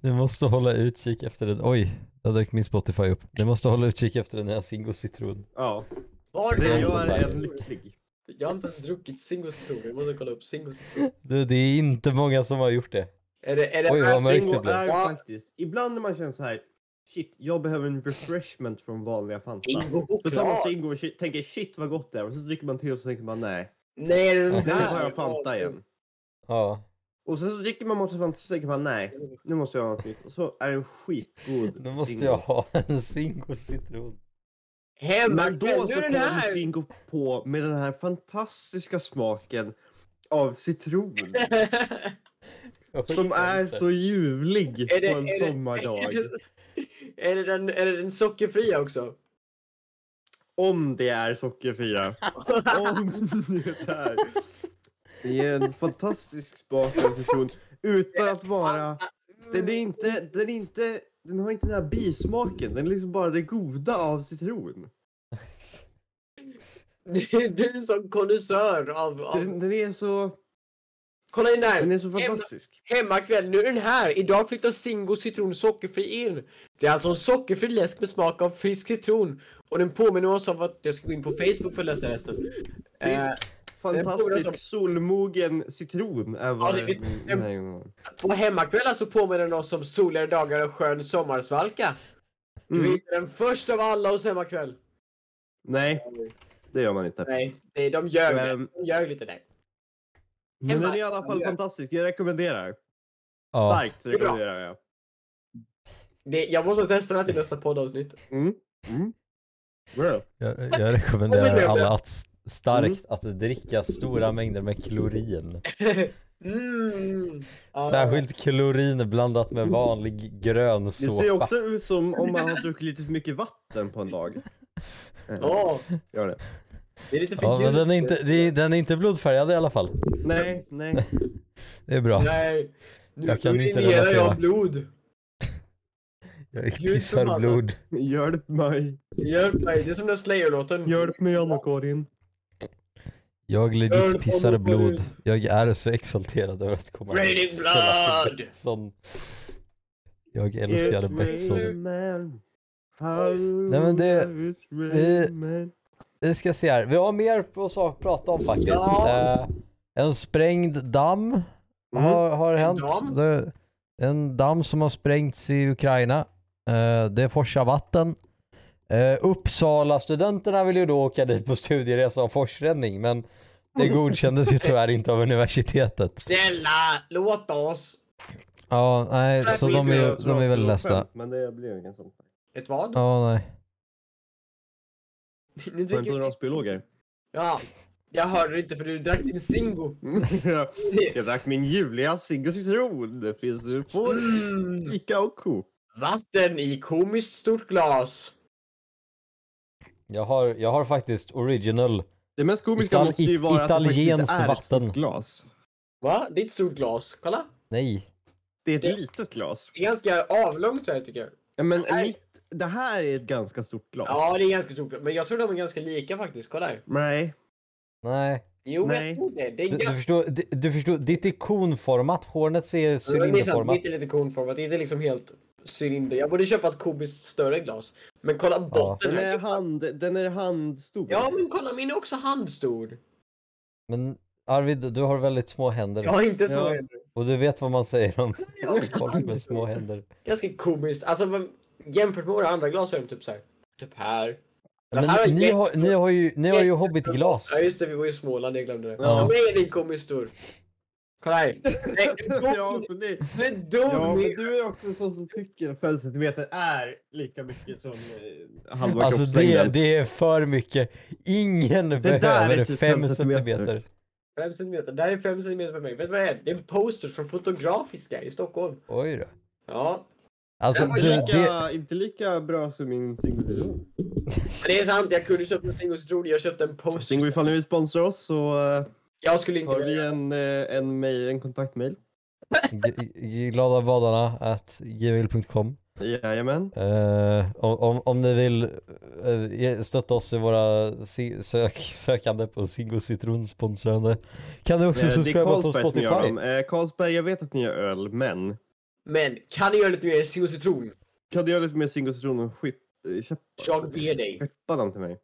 Speaker 2: Ni måste hålla utkik efter den. Oj, där dök min Spotify upp. Ni måste hålla utkik efter den här Zingo citron.
Speaker 1: Ja,
Speaker 3: Var
Speaker 1: det
Speaker 3: är
Speaker 1: gör
Speaker 2: där.
Speaker 1: en lycklig.
Speaker 3: Jag har inte ens druckit Singos Citron. Jag måste kolla upp Singos Citron.
Speaker 2: Du, det är inte många som har gjort det.
Speaker 3: Är det... Är det
Speaker 2: Oj,
Speaker 3: här
Speaker 2: vad märkt
Speaker 3: Zingo-
Speaker 1: Bingo
Speaker 2: det blev.
Speaker 1: är
Speaker 3: Ja.
Speaker 1: faktiskt, ibland när man känner så här, shit, jag behöver en refreshment från vanliga Fanta.
Speaker 3: Zingo
Speaker 1: Då tar man
Speaker 3: choklad?
Speaker 1: Zingo och shit, tänker shit vad gott det är och så dricker man till och så tänker man nej,
Speaker 3: Nej, det är den
Speaker 1: nu
Speaker 3: här.
Speaker 1: tar jag Fanta igen.
Speaker 2: Ja,
Speaker 1: Och sen så dricker man massa Fanta och så tänker man nej, nu måste jag ha något nytt. Och så är det en skitgod
Speaker 2: nu måste
Speaker 1: Zingo.
Speaker 2: jag ha en Zingo citron.
Speaker 3: Hem,
Speaker 1: Men då
Speaker 3: nu
Speaker 1: så
Speaker 3: är den
Speaker 1: kommer
Speaker 3: här!
Speaker 1: Zingo på med den här fantastiska smaken av citron som är så ljuvlig
Speaker 3: Är det-
Speaker 1: på en
Speaker 3: är det-
Speaker 1: sommardag.
Speaker 3: Är det, den, är det den sockerfria också?
Speaker 1: Om det är sockerfria. Om det är. Det är en fantastisk smak av citron utan att vara... Den är inte... Den, är inte, den har inte den här bismaken. Den är liksom bara det goda av citron.
Speaker 3: Det är du som konnässör av...
Speaker 1: Den,
Speaker 3: av...
Speaker 1: den är så...
Speaker 3: Kolla in det här!
Speaker 1: Den är så fantastisk.
Speaker 3: Hemmakväll, nu är den här! Idag flyttar Zingo citron sockerfri in. Det är alltså en sockerfri läsk med smak av frisk citron. Och den påminner oss om att jag ska gå in på Facebook för att läsa resten. Eh,
Speaker 1: Fantastisk solmogen citron är vad
Speaker 3: Ja, det är-
Speaker 1: den den här gången var.
Speaker 3: på hemmakvällar så alltså påminner den oss om soliga dagar och skön sommarsvalka. Du är
Speaker 1: Mm.
Speaker 3: inte den första av alla hos hemmakväll.
Speaker 1: Nej, det gör man inte.
Speaker 3: Nej, det, de ljög.
Speaker 1: Ehm.
Speaker 3: De ljög lite där.
Speaker 1: Men den är i alla fall fantastisk. Jag rekommenderar.
Speaker 2: Ja.
Speaker 1: Starkt rekommenderar jag.
Speaker 3: Det, jag måste testa den här till nästa poddavsnitt.
Speaker 1: Mm. Mm. Bra.
Speaker 2: Jag, jag rekommenderar alla att s- starkt
Speaker 1: Mm.
Speaker 2: att dricka stora mängder med klorin.
Speaker 3: mm. Ja.
Speaker 2: Särskilt klorin blandat med vanlig grön
Speaker 1: Det ser ju
Speaker 2: såpa.
Speaker 1: också ut som om man har druckit lite för mycket vatten på en dag. Ja,
Speaker 3: Ja,
Speaker 1: gör det.
Speaker 3: det är lite för
Speaker 2: Ja, men
Speaker 3: ljust.
Speaker 2: den är, inte, det är, den är inte blodfärgad i alla fall.
Speaker 1: Nej, nej.
Speaker 2: Det är bra.
Speaker 3: Nej. Nu
Speaker 2: Jag kan inte
Speaker 3: urinerar
Speaker 2: relatera.
Speaker 3: jag blod.
Speaker 2: Jag
Speaker 3: Gud, som
Speaker 2: kissar
Speaker 3: alla.
Speaker 2: blod.
Speaker 1: Hjälp mig.
Speaker 3: Hjälp mig, det är som den Slayer-låten.
Speaker 1: Hjälp mig Anna-Karin.
Speaker 2: Jag
Speaker 3: Öl
Speaker 2: legit
Speaker 3: kommer
Speaker 2: pissar
Speaker 3: upp på
Speaker 2: blod.
Speaker 3: dig.
Speaker 2: Jag är så exalterad över att komma
Speaker 3: Raining
Speaker 2: till Lasse
Speaker 3: blood!
Speaker 2: Bengtsson. Jag älskade Betsson.
Speaker 1: Nej
Speaker 2: men
Speaker 1: men
Speaker 2: det-
Speaker 1: det...
Speaker 2: eh, Vi ska se här. Vi har mer på sak att prata om faktiskt.
Speaker 3: Ja. Mm.
Speaker 2: Eh, en sprängd damm har, har hänt.
Speaker 3: damm?
Speaker 2: Det, en damm som har sprängts i Ukraina. Eh, det forsar vatten. Uh, Uppsala studenterna vill ju då åka dit på studieresa av forsränning men det godkändes ju tyvärr inte av universitetet.
Speaker 3: Snälla, låt oss.
Speaker 2: Ja, nej, så de är, ju- de är väldigt ledsna.
Speaker 1: Men det blir ingen sån.
Speaker 3: Ett vad?
Speaker 2: Ja, nej.
Speaker 3: Nu
Speaker 1: Skämt
Speaker 3: tycker
Speaker 1: om
Speaker 3: jag...
Speaker 1: rasbiologer.
Speaker 3: Ja. Jag hörde inte för du drack din Zingo.
Speaker 1: Jag drack min ljuvliga cigg och citron. Det finns ju på
Speaker 3: Mm.
Speaker 1: Ica och Coop.
Speaker 3: Vatten i komiskt stort glas.
Speaker 2: Jag har, jag har faktiskt original.
Speaker 1: Det mest komiska
Speaker 2: Ital-
Speaker 1: måste ju
Speaker 2: it-
Speaker 1: vara att det faktiskt
Speaker 2: italienskt
Speaker 1: inte är ett
Speaker 2: vatten.
Speaker 1: stort glas.
Speaker 3: Va? Det är ett stort glas. Kolla.
Speaker 2: Nej.
Speaker 1: Det är ett
Speaker 3: Det-
Speaker 1: litet glas.
Speaker 3: Det är ganska avlångt så här tycker jag.
Speaker 1: Ja, men
Speaker 3: Nej.
Speaker 1: mitt, det här är ett ganska stort glas.
Speaker 3: Ja, det är ganska stort. Men jag tror de är ganska lika faktiskt. Kolla här.
Speaker 1: Nej.
Speaker 2: Nej.
Speaker 3: Jo, men
Speaker 1: Nej.
Speaker 3: jag tror det. Det är
Speaker 2: Du, du,
Speaker 3: ganska...
Speaker 2: förstår, du, du förstår, ditt är konformat. Hornets är
Speaker 3: Det är sant,
Speaker 2: cylinderformat.
Speaker 3: mitt är lite konformat. Det är inte liksom helt cylinder. Jag borde köpa ett kubiskt större glas. Men kolla botten
Speaker 1: Den
Speaker 3: här.
Speaker 1: är, hand, den är handstor.
Speaker 3: Ja, men kolla min är också handstor.
Speaker 2: Men Arvid, du har väldigt små händer.
Speaker 3: Jag har inte så
Speaker 1: Ja.
Speaker 3: händer.
Speaker 2: Och du vet vad man säger om
Speaker 3: Jag har också
Speaker 2: folk med
Speaker 3: handstor.
Speaker 2: små händer.
Speaker 3: Ganska komiskt. Alltså vem- jämfört med våra andra glas är de typ så här. Typ här. Den här
Speaker 2: Men ni,
Speaker 3: jättestor-
Speaker 2: har, ni har ju, ni har ju
Speaker 3: jättestor-
Speaker 2: hobbitglas.
Speaker 3: Ja just det, vi var ju i Småland, jag glömde det.
Speaker 1: Ja.
Speaker 3: Ja. Mig är din komiskt stor. Kolla här. Nej, du
Speaker 1: ja,
Speaker 3: dog-
Speaker 1: men det,
Speaker 3: Du dog
Speaker 1: ja, men
Speaker 3: min-
Speaker 1: du är också en sån som tycker att 5 centimeter är lika mycket som eh, halva
Speaker 2: Alltså det,
Speaker 1: kroppslängden.
Speaker 2: det är för mycket. Ingen
Speaker 1: där är
Speaker 2: behöver
Speaker 1: typ
Speaker 2: fem
Speaker 1: fem centimeter.
Speaker 2: centimeter.
Speaker 3: Fem centimeter. Det här är fem centimeter för mig. Vet du vad det är? Det är en poster från Fotografiska i Stockholm.
Speaker 2: Oj då.
Speaker 3: Ja.
Speaker 2: Alltså,
Speaker 3: Den var
Speaker 2: du,
Speaker 1: Lika,
Speaker 2: det,
Speaker 1: Inte lika bra som min Singo
Speaker 3: Men det är sant, jag kunde köpt en single citron. Jag köpte en poster.
Speaker 1: Singo, ifall ni vill sponsra oss så eh,
Speaker 3: Jag skulle inte
Speaker 1: har
Speaker 3: vilja.
Speaker 1: vi en, eh, en, mail, en kontaktmail.
Speaker 2: G- g- glada vadarna at gmail.com
Speaker 1: Jajamän.
Speaker 2: Eh, om, om, om ni vill eh, ge- stötta oss i våra si- sök, sökande på Singo Citron sponsrande kan du också
Speaker 1: Eh, Det är
Speaker 2: subscriba på
Speaker 1: Carlsberg som gör
Speaker 2: Spotify.
Speaker 1: dem. Eh, Carlsberg, jag vet att ni gör öl, men
Speaker 3: Men kan ni göra lite mer single citron?
Speaker 1: kan du göra lite mer Singo citron och skip, eh, köpa,
Speaker 3: Jag ber dig.
Speaker 1: skeppa dem till mig?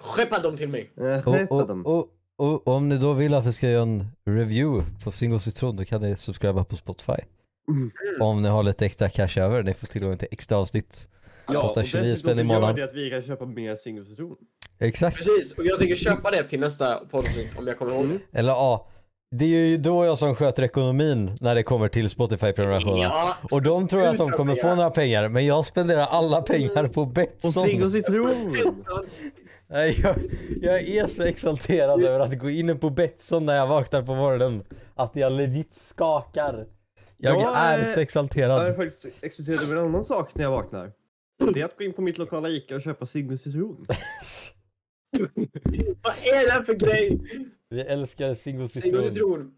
Speaker 3: Skeppa dem till mig.
Speaker 1: Eh,
Speaker 2: Och,
Speaker 1: skeppa
Speaker 2: och,
Speaker 1: dem.
Speaker 2: och, och om ni då vill att vi ska göra en review på Singo Citron då kan ni subscriba på Spotify.
Speaker 1: Mm.
Speaker 2: Om ni har lite extra cash över, ni får tillgång till extra avsnitt.
Speaker 1: Ja,
Speaker 2: kostar
Speaker 1: och
Speaker 2: 29
Speaker 1: dessutom
Speaker 2: spänn i
Speaker 1: så
Speaker 2: månaden.
Speaker 1: gör det att vi kan köpa mer Singo citron.
Speaker 2: Exakt.
Speaker 3: Precis, och jag tänker köpa det till nästa poddavsnitt om jag kommer ihåg det.
Speaker 2: Eller ja, det är ju då jag som sköter ekonomin när det kommer till Spotify-prenumerationerna. Och de tror jag att de kommer få några pengar, men jag spenderar alla pengar på
Speaker 1: Och cigg och
Speaker 2: Betsson.
Speaker 1: citron!
Speaker 2: Nej, jag, jag är så exalterad över att gå in på Betsson när jag vaknar på morgonen. Att jag legit skakar. Jag
Speaker 1: Ja,
Speaker 2: är
Speaker 1: eh,
Speaker 2: så
Speaker 1: Jag har
Speaker 2: exalterad.
Speaker 1: faktiskt existerat över en annan sak när jag vaknar. Det är att gå in på mitt lokala Ica och köpa cigg och citron.
Speaker 3: Vad är det här för grej?
Speaker 2: Vi älskar Singo
Speaker 3: Singo
Speaker 2: Citron.
Speaker 3: citron.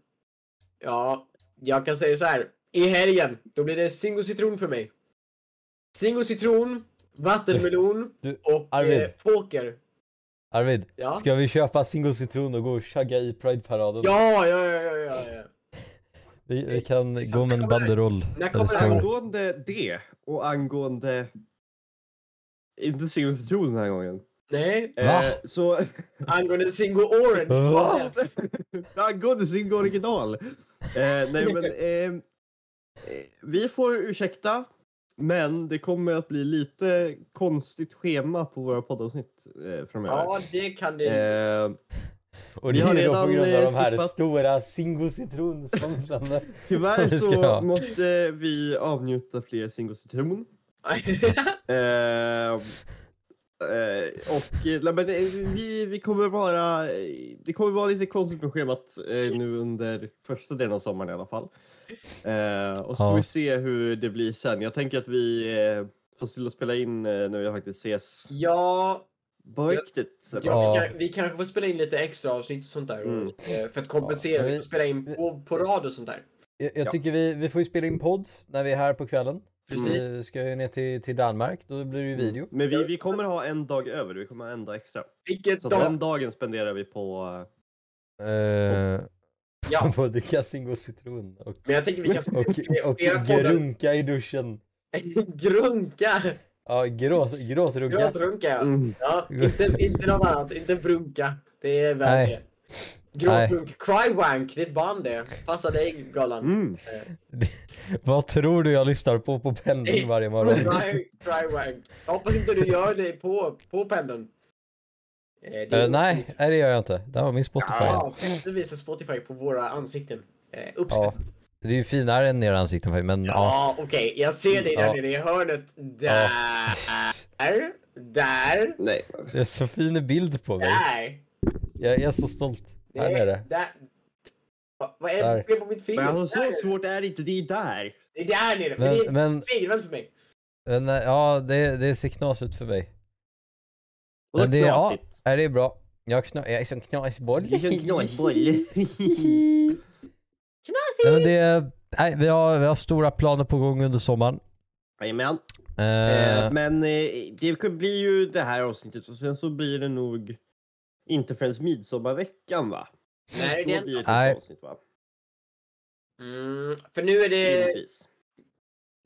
Speaker 3: Ja, jag kan säga så här. I helgen, då blir det singo citron för mig. Singo citron, vattenmelon
Speaker 2: Du-
Speaker 3: och
Speaker 2: Arvid.
Speaker 3: eh, poker.
Speaker 2: Arvid,
Speaker 3: Ja.
Speaker 2: ska vi köpa Singo Citron och gå och chugga i Pride-paraden?
Speaker 3: Ja, ja, ja, ja, ja. ja.
Speaker 2: Vi, vi kan
Speaker 3: Exakt.
Speaker 2: gå med en
Speaker 3: När kommer det?
Speaker 2: banderoll.
Speaker 3: När
Speaker 2: eller
Speaker 3: kommer det?
Speaker 2: ska
Speaker 1: Angående det och angående... Inte cigg och citron den här gången.
Speaker 3: Nej,
Speaker 2: Va?
Speaker 1: Eh, så...
Speaker 3: angående singo orange.
Speaker 2: Va?
Speaker 1: angående cigg och original. Eh, nej men... ehm, Eh, vi får ursäkta. Men det kommer att bli lite konstigt schema på våra poddavsnitt eh, framöver.
Speaker 3: Ja, det kan det.
Speaker 1: Eh,
Speaker 2: Och
Speaker 1: Vi
Speaker 2: det
Speaker 1: har
Speaker 2: är då
Speaker 1: redan,
Speaker 2: på grund av
Speaker 1: eh,
Speaker 2: de här
Speaker 1: skippat-
Speaker 2: stora Singo Citron-sponsrarna.
Speaker 1: Tyvärr
Speaker 2: Vi ska
Speaker 1: så
Speaker 2: ha.
Speaker 1: måste vi avnjuta fler Singo citron.
Speaker 2: Eh.
Speaker 1: Ehm, eh, och eh, nej, men, eh, vi, vi kommer vara, eh, det kommer vara lite konstigt med schemat eh, nu under första delen av sommaren i alla fall. Eh, och så
Speaker 2: Ja.
Speaker 1: får vi se hur det blir sen. Jag tänker att vi eh, får till att spela in eh, när vi faktiskt ses
Speaker 3: ja,
Speaker 1: på riktigt.
Speaker 3: ja,
Speaker 1: Ja.
Speaker 3: Vi,
Speaker 2: Ja.
Speaker 3: kan, vi kanske får spela in lite extra avsnitt och sånt där.
Speaker 1: Mm.
Speaker 3: eh, För att kompensera.
Speaker 2: Ja,
Speaker 3: vi
Speaker 2: vi-
Speaker 3: kan spela in på, på rad och sånt där.
Speaker 2: Jag, jag
Speaker 1: Ja.
Speaker 2: tycker vi, vi får ju spela in podd när vi är här på kvällen.
Speaker 3: Precis. Mm.
Speaker 2: Vi Eh, ska ju ner till, till Danmark, då blir det ju video.
Speaker 1: Men vi, vi kommer ha en dag över, vi kommer ha en dag extra.
Speaker 3: Vilket
Speaker 1: Så
Speaker 3: dag.
Speaker 1: den dagen spenderar vi på eh,
Speaker 2: Eh,
Speaker 3: Ja.
Speaker 2: På att dricka Singo Citron och,
Speaker 3: Men jag tänker vi kan
Speaker 2: och, och
Speaker 3: flera poddar.
Speaker 2: grunka i duschen.
Speaker 3: Grunka!
Speaker 2: Ja, gråt, gråtrunka.
Speaker 3: Gråtrunka ja.
Speaker 1: Mm.
Speaker 3: ja inte, inte något annat, inte brunka. Det är väl
Speaker 2: Nej.
Speaker 3: det. Gråtrunk, Crywank, det är ett band det. Passar dig Galan.
Speaker 1: Mm.
Speaker 2: Vad tror du jag lyssnar på på pendeln varje morgon?
Speaker 3: Cry, crywank. Jag hoppas inte du gör det på, på pendeln. Eh, det är
Speaker 2: Eh, nej, nej, det gör jag inte. Det här var min Spotify.
Speaker 3: Ja, du visar Spotify på våra ansikten. Eh, uppsatt.
Speaker 2: Ja. Det är ju finare än era ansikten faktiskt, men
Speaker 3: Ja,
Speaker 2: ja.
Speaker 3: okej. Jag ser dig där
Speaker 2: Ja.
Speaker 3: nere i hörnet. Där. Där.
Speaker 1: Nej.
Speaker 2: Det är så fin bild på mig.
Speaker 3: Där.
Speaker 2: Jag, jag är så stolt. Här
Speaker 3: Nej,
Speaker 2: nere.
Speaker 3: Där. Va- Vad är det
Speaker 2: Där.
Speaker 3: för fel på mitt finger?
Speaker 1: Men alltså,
Speaker 3: Där.
Speaker 1: så svårt är det inte, det är där.
Speaker 3: Det är där nere. Men, det är
Speaker 2: Men, men,
Speaker 3: tvivlande för mig.
Speaker 2: men eh, ja, det, det ser knas ut för mig.
Speaker 1: Och det är
Speaker 2: Men det är- ja.
Speaker 1: knasigt.
Speaker 2: Nej, det är bra. Jag, kna- jag är som knasboll.
Speaker 1: Det är som knasboll.
Speaker 2: Nej, men
Speaker 3: Knasigt!
Speaker 2: det, nej, vi, har, vi har stora planer på gång under sommaren.
Speaker 1: Jajamän.
Speaker 2: Eh,
Speaker 1: Eh, men eh, det blir ju det här avsnittet och sen så blir det nog inte förrän midsommarveckan va?
Speaker 3: Nej, det
Speaker 1: Då
Speaker 3: är
Speaker 1: blir det ett
Speaker 2: Nej.
Speaker 1: avsnitt va?
Speaker 3: Mm, för nu är det...
Speaker 1: Givetvis.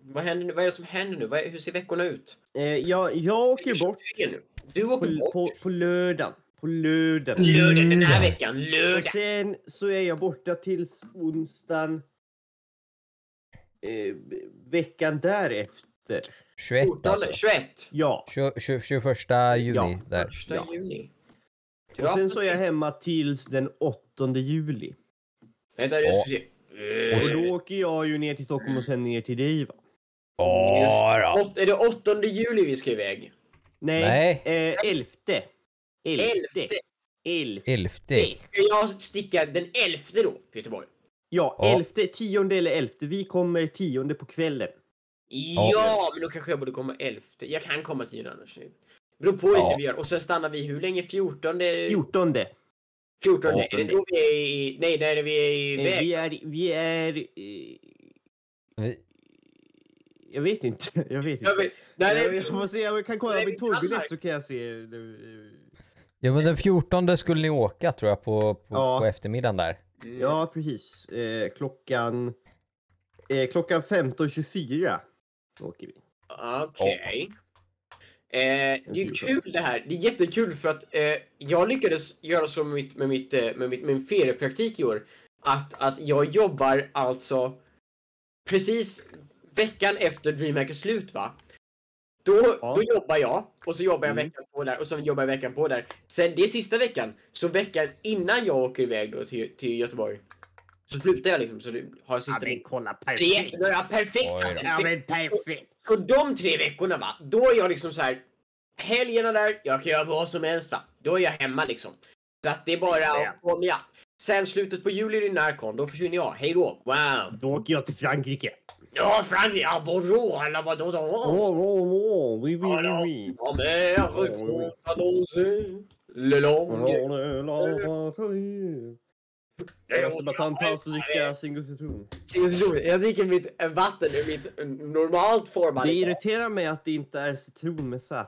Speaker 3: Vad, händer, nu? vad är det som händer nu? Vad är, hur ser veckorna ut?
Speaker 1: Eh, jag, jag åker ju bort
Speaker 3: Det är nu. Du åker
Speaker 1: på,
Speaker 3: bort.
Speaker 1: på, på lördagen. På lördagen.
Speaker 3: Lördag den här
Speaker 2: Lördag.
Speaker 3: veckan.
Speaker 1: Och
Speaker 3: Lördag!
Speaker 1: sen så är jag borta tills onsdagen eh, veckan därefter.
Speaker 2: 21
Speaker 3: 14,
Speaker 2: alltså.
Speaker 3: 21.
Speaker 1: Ja.
Speaker 2: Tju- tju- 21 juni.
Speaker 1: Ja.
Speaker 2: Där.
Speaker 3: Första
Speaker 1: Ja.
Speaker 3: juni.
Speaker 1: Och sen så är jag hemma tills den 8 juli.
Speaker 3: Vänta, jag ska se. Eh,
Speaker 2: Och
Speaker 1: Och
Speaker 2: så-
Speaker 1: då åker jag ju ner till Stockholm och sen ner till dig va?
Speaker 2: Ja, då.
Speaker 3: Åt, är det 8 juli vi ska iväg?
Speaker 1: Nej.
Speaker 2: Nej.
Speaker 1: Eh, elfte.
Speaker 3: Elfte.
Speaker 1: Elfte. Elfte.
Speaker 2: Elfte.
Speaker 3: Ska jag sticka den 11 då, Göteborg?
Speaker 1: Ja,
Speaker 2: Ja.
Speaker 1: elfte, tionde eller elfte. Vi kommer tionde på kvällen.
Speaker 3: Ja, men då kanske jag borde komma 11. Jag kan komma 10 annars. Det beror på hur lite
Speaker 2: Ja.
Speaker 3: vi gör. Och sen stannar vi hur länge? 14? 14.
Speaker 1: Fjortonde.
Speaker 3: 14.
Speaker 1: Ja.
Speaker 3: Är det då vi är i... Nej, nej, vi är
Speaker 1: Eh,
Speaker 3: iväg.
Speaker 1: vi är, vi är... Eh,
Speaker 2: Vi-
Speaker 1: jag vet inte. Jag vet
Speaker 3: Jag
Speaker 1: inte.
Speaker 3: vet- Nej,
Speaker 1: Jag,
Speaker 3: nej,
Speaker 1: jag får se, jag kan
Speaker 3: Nej,
Speaker 1: kolla
Speaker 3: vi
Speaker 1: min tågbiljett
Speaker 3: Danmark.
Speaker 1: så kan jag se. eh,
Speaker 2: Ja men den 14 skulle ni åka tror jag på, på,
Speaker 1: Ja.
Speaker 2: på eftermiddagen där.
Speaker 3: Mm.
Speaker 1: Ja, precis. Eh, klockan... Eh, klockan 15.24 åker vi.
Speaker 3: Okej. Eh, det är
Speaker 1: kul
Speaker 3: kul det här. Det är jättekul för att eh, jag lyckades göra så med, mitt, med, mitt, eh, med, mitt, med min feriepraktik i år. Att, att jag jobbar alltså precis veckan efter DreamHackers slut va? Då,
Speaker 1: Ja.
Speaker 3: då jobbar jag och så jobbar jag
Speaker 1: Mm.
Speaker 3: veckan på där och så jobbar jag veckan på där. Sen det är sista veckan. Så veckan innan jag åker iväg då till, till Göteborg. Så slutar jag liksom så du har sista...
Speaker 1: men kolla
Speaker 3: tre,
Speaker 1: perfekt.
Speaker 3: då är jag perfekt
Speaker 2: Oj
Speaker 3: satt.
Speaker 2: då.
Speaker 1: Ja men perfekt.
Speaker 3: Så de tre veckorna va, då är jag liksom så här. Helgerna där, jag kan göra vad som helst va. Då är jag hemma liksom. Så att det är bara
Speaker 1: Ja.
Speaker 3: att komma. Sen slutet på juli är det Narcon, då försvinner jag. Hej då! Wow!
Speaker 1: Då åker jag till Frankrike.
Speaker 3: Ja, Frank, ja, Bordeaux eller vadå då?
Speaker 1: Åh, åh, åh, oui, oui,
Speaker 3: Ja, då.
Speaker 1: oui, oui.
Speaker 3: Ja, men jag har
Speaker 1: Oj, oj.
Speaker 3: kvar annonser. Le long.
Speaker 1: Jag måste Alltså, bara ta en paus och dricka Zingo citron.
Speaker 3: Jag dricker mitt eh, vatten ur mitt eh, normalt formade
Speaker 1: Det
Speaker 3: glas.
Speaker 1: irriterar mig att det inte är citron med Z.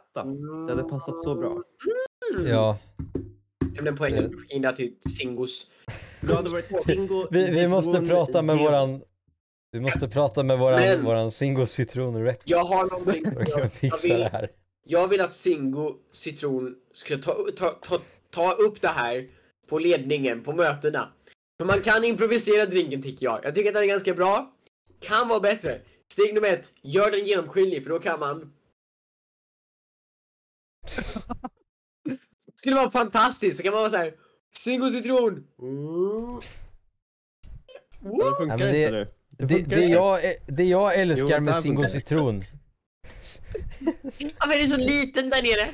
Speaker 1: Det hade passat så bra.
Speaker 3: Mm.
Speaker 2: Ja.
Speaker 3: Ja, Men på engelska skickade jag till Singos.
Speaker 1: Det hade varit Zingo
Speaker 2: Vi, vi måste
Speaker 1: citron
Speaker 2: prata med
Speaker 1: zero.
Speaker 2: våran... Vi måste prata med våran,
Speaker 3: Men-
Speaker 2: våran Singo citron rep.
Speaker 3: Jag har någonting.
Speaker 2: för att kunna
Speaker 3: Jag, jag,
Speaker 2: fixa det
Speaker 3: vill,
Speaker 2: här.
Speaker 3: jag vill att Singo Citron ska ta, ta, ta, ta upp det här på ledningen, på mötena. För man kan improvisera drinken tycker jag. Jag tycker att den är ganska bra. Kan vara bättre. Steg nummer ett, gör den genomskinlig för då kan man. Det skulle vara fantastiskt, så kan man vara såhär. Singo Citron! Mm.
Speaker 1: Ja, Det funkar
Speaker 2: Ja, men det-
Speaker 1: inte nu.
Speaker 2: Det,
Speaker 1: funkar
Speaker 2: det,
Speaker 1: inte.
Speaker 2: jag, ä- det jag älskar
Speaker 1: Jo,
Speaker 2: med
Speaker 1: där
Speaker 2: Singo
Speaker 1: funkar det.
Speaker 2: citron.
Speaker 3: Varför är det så liten där nere?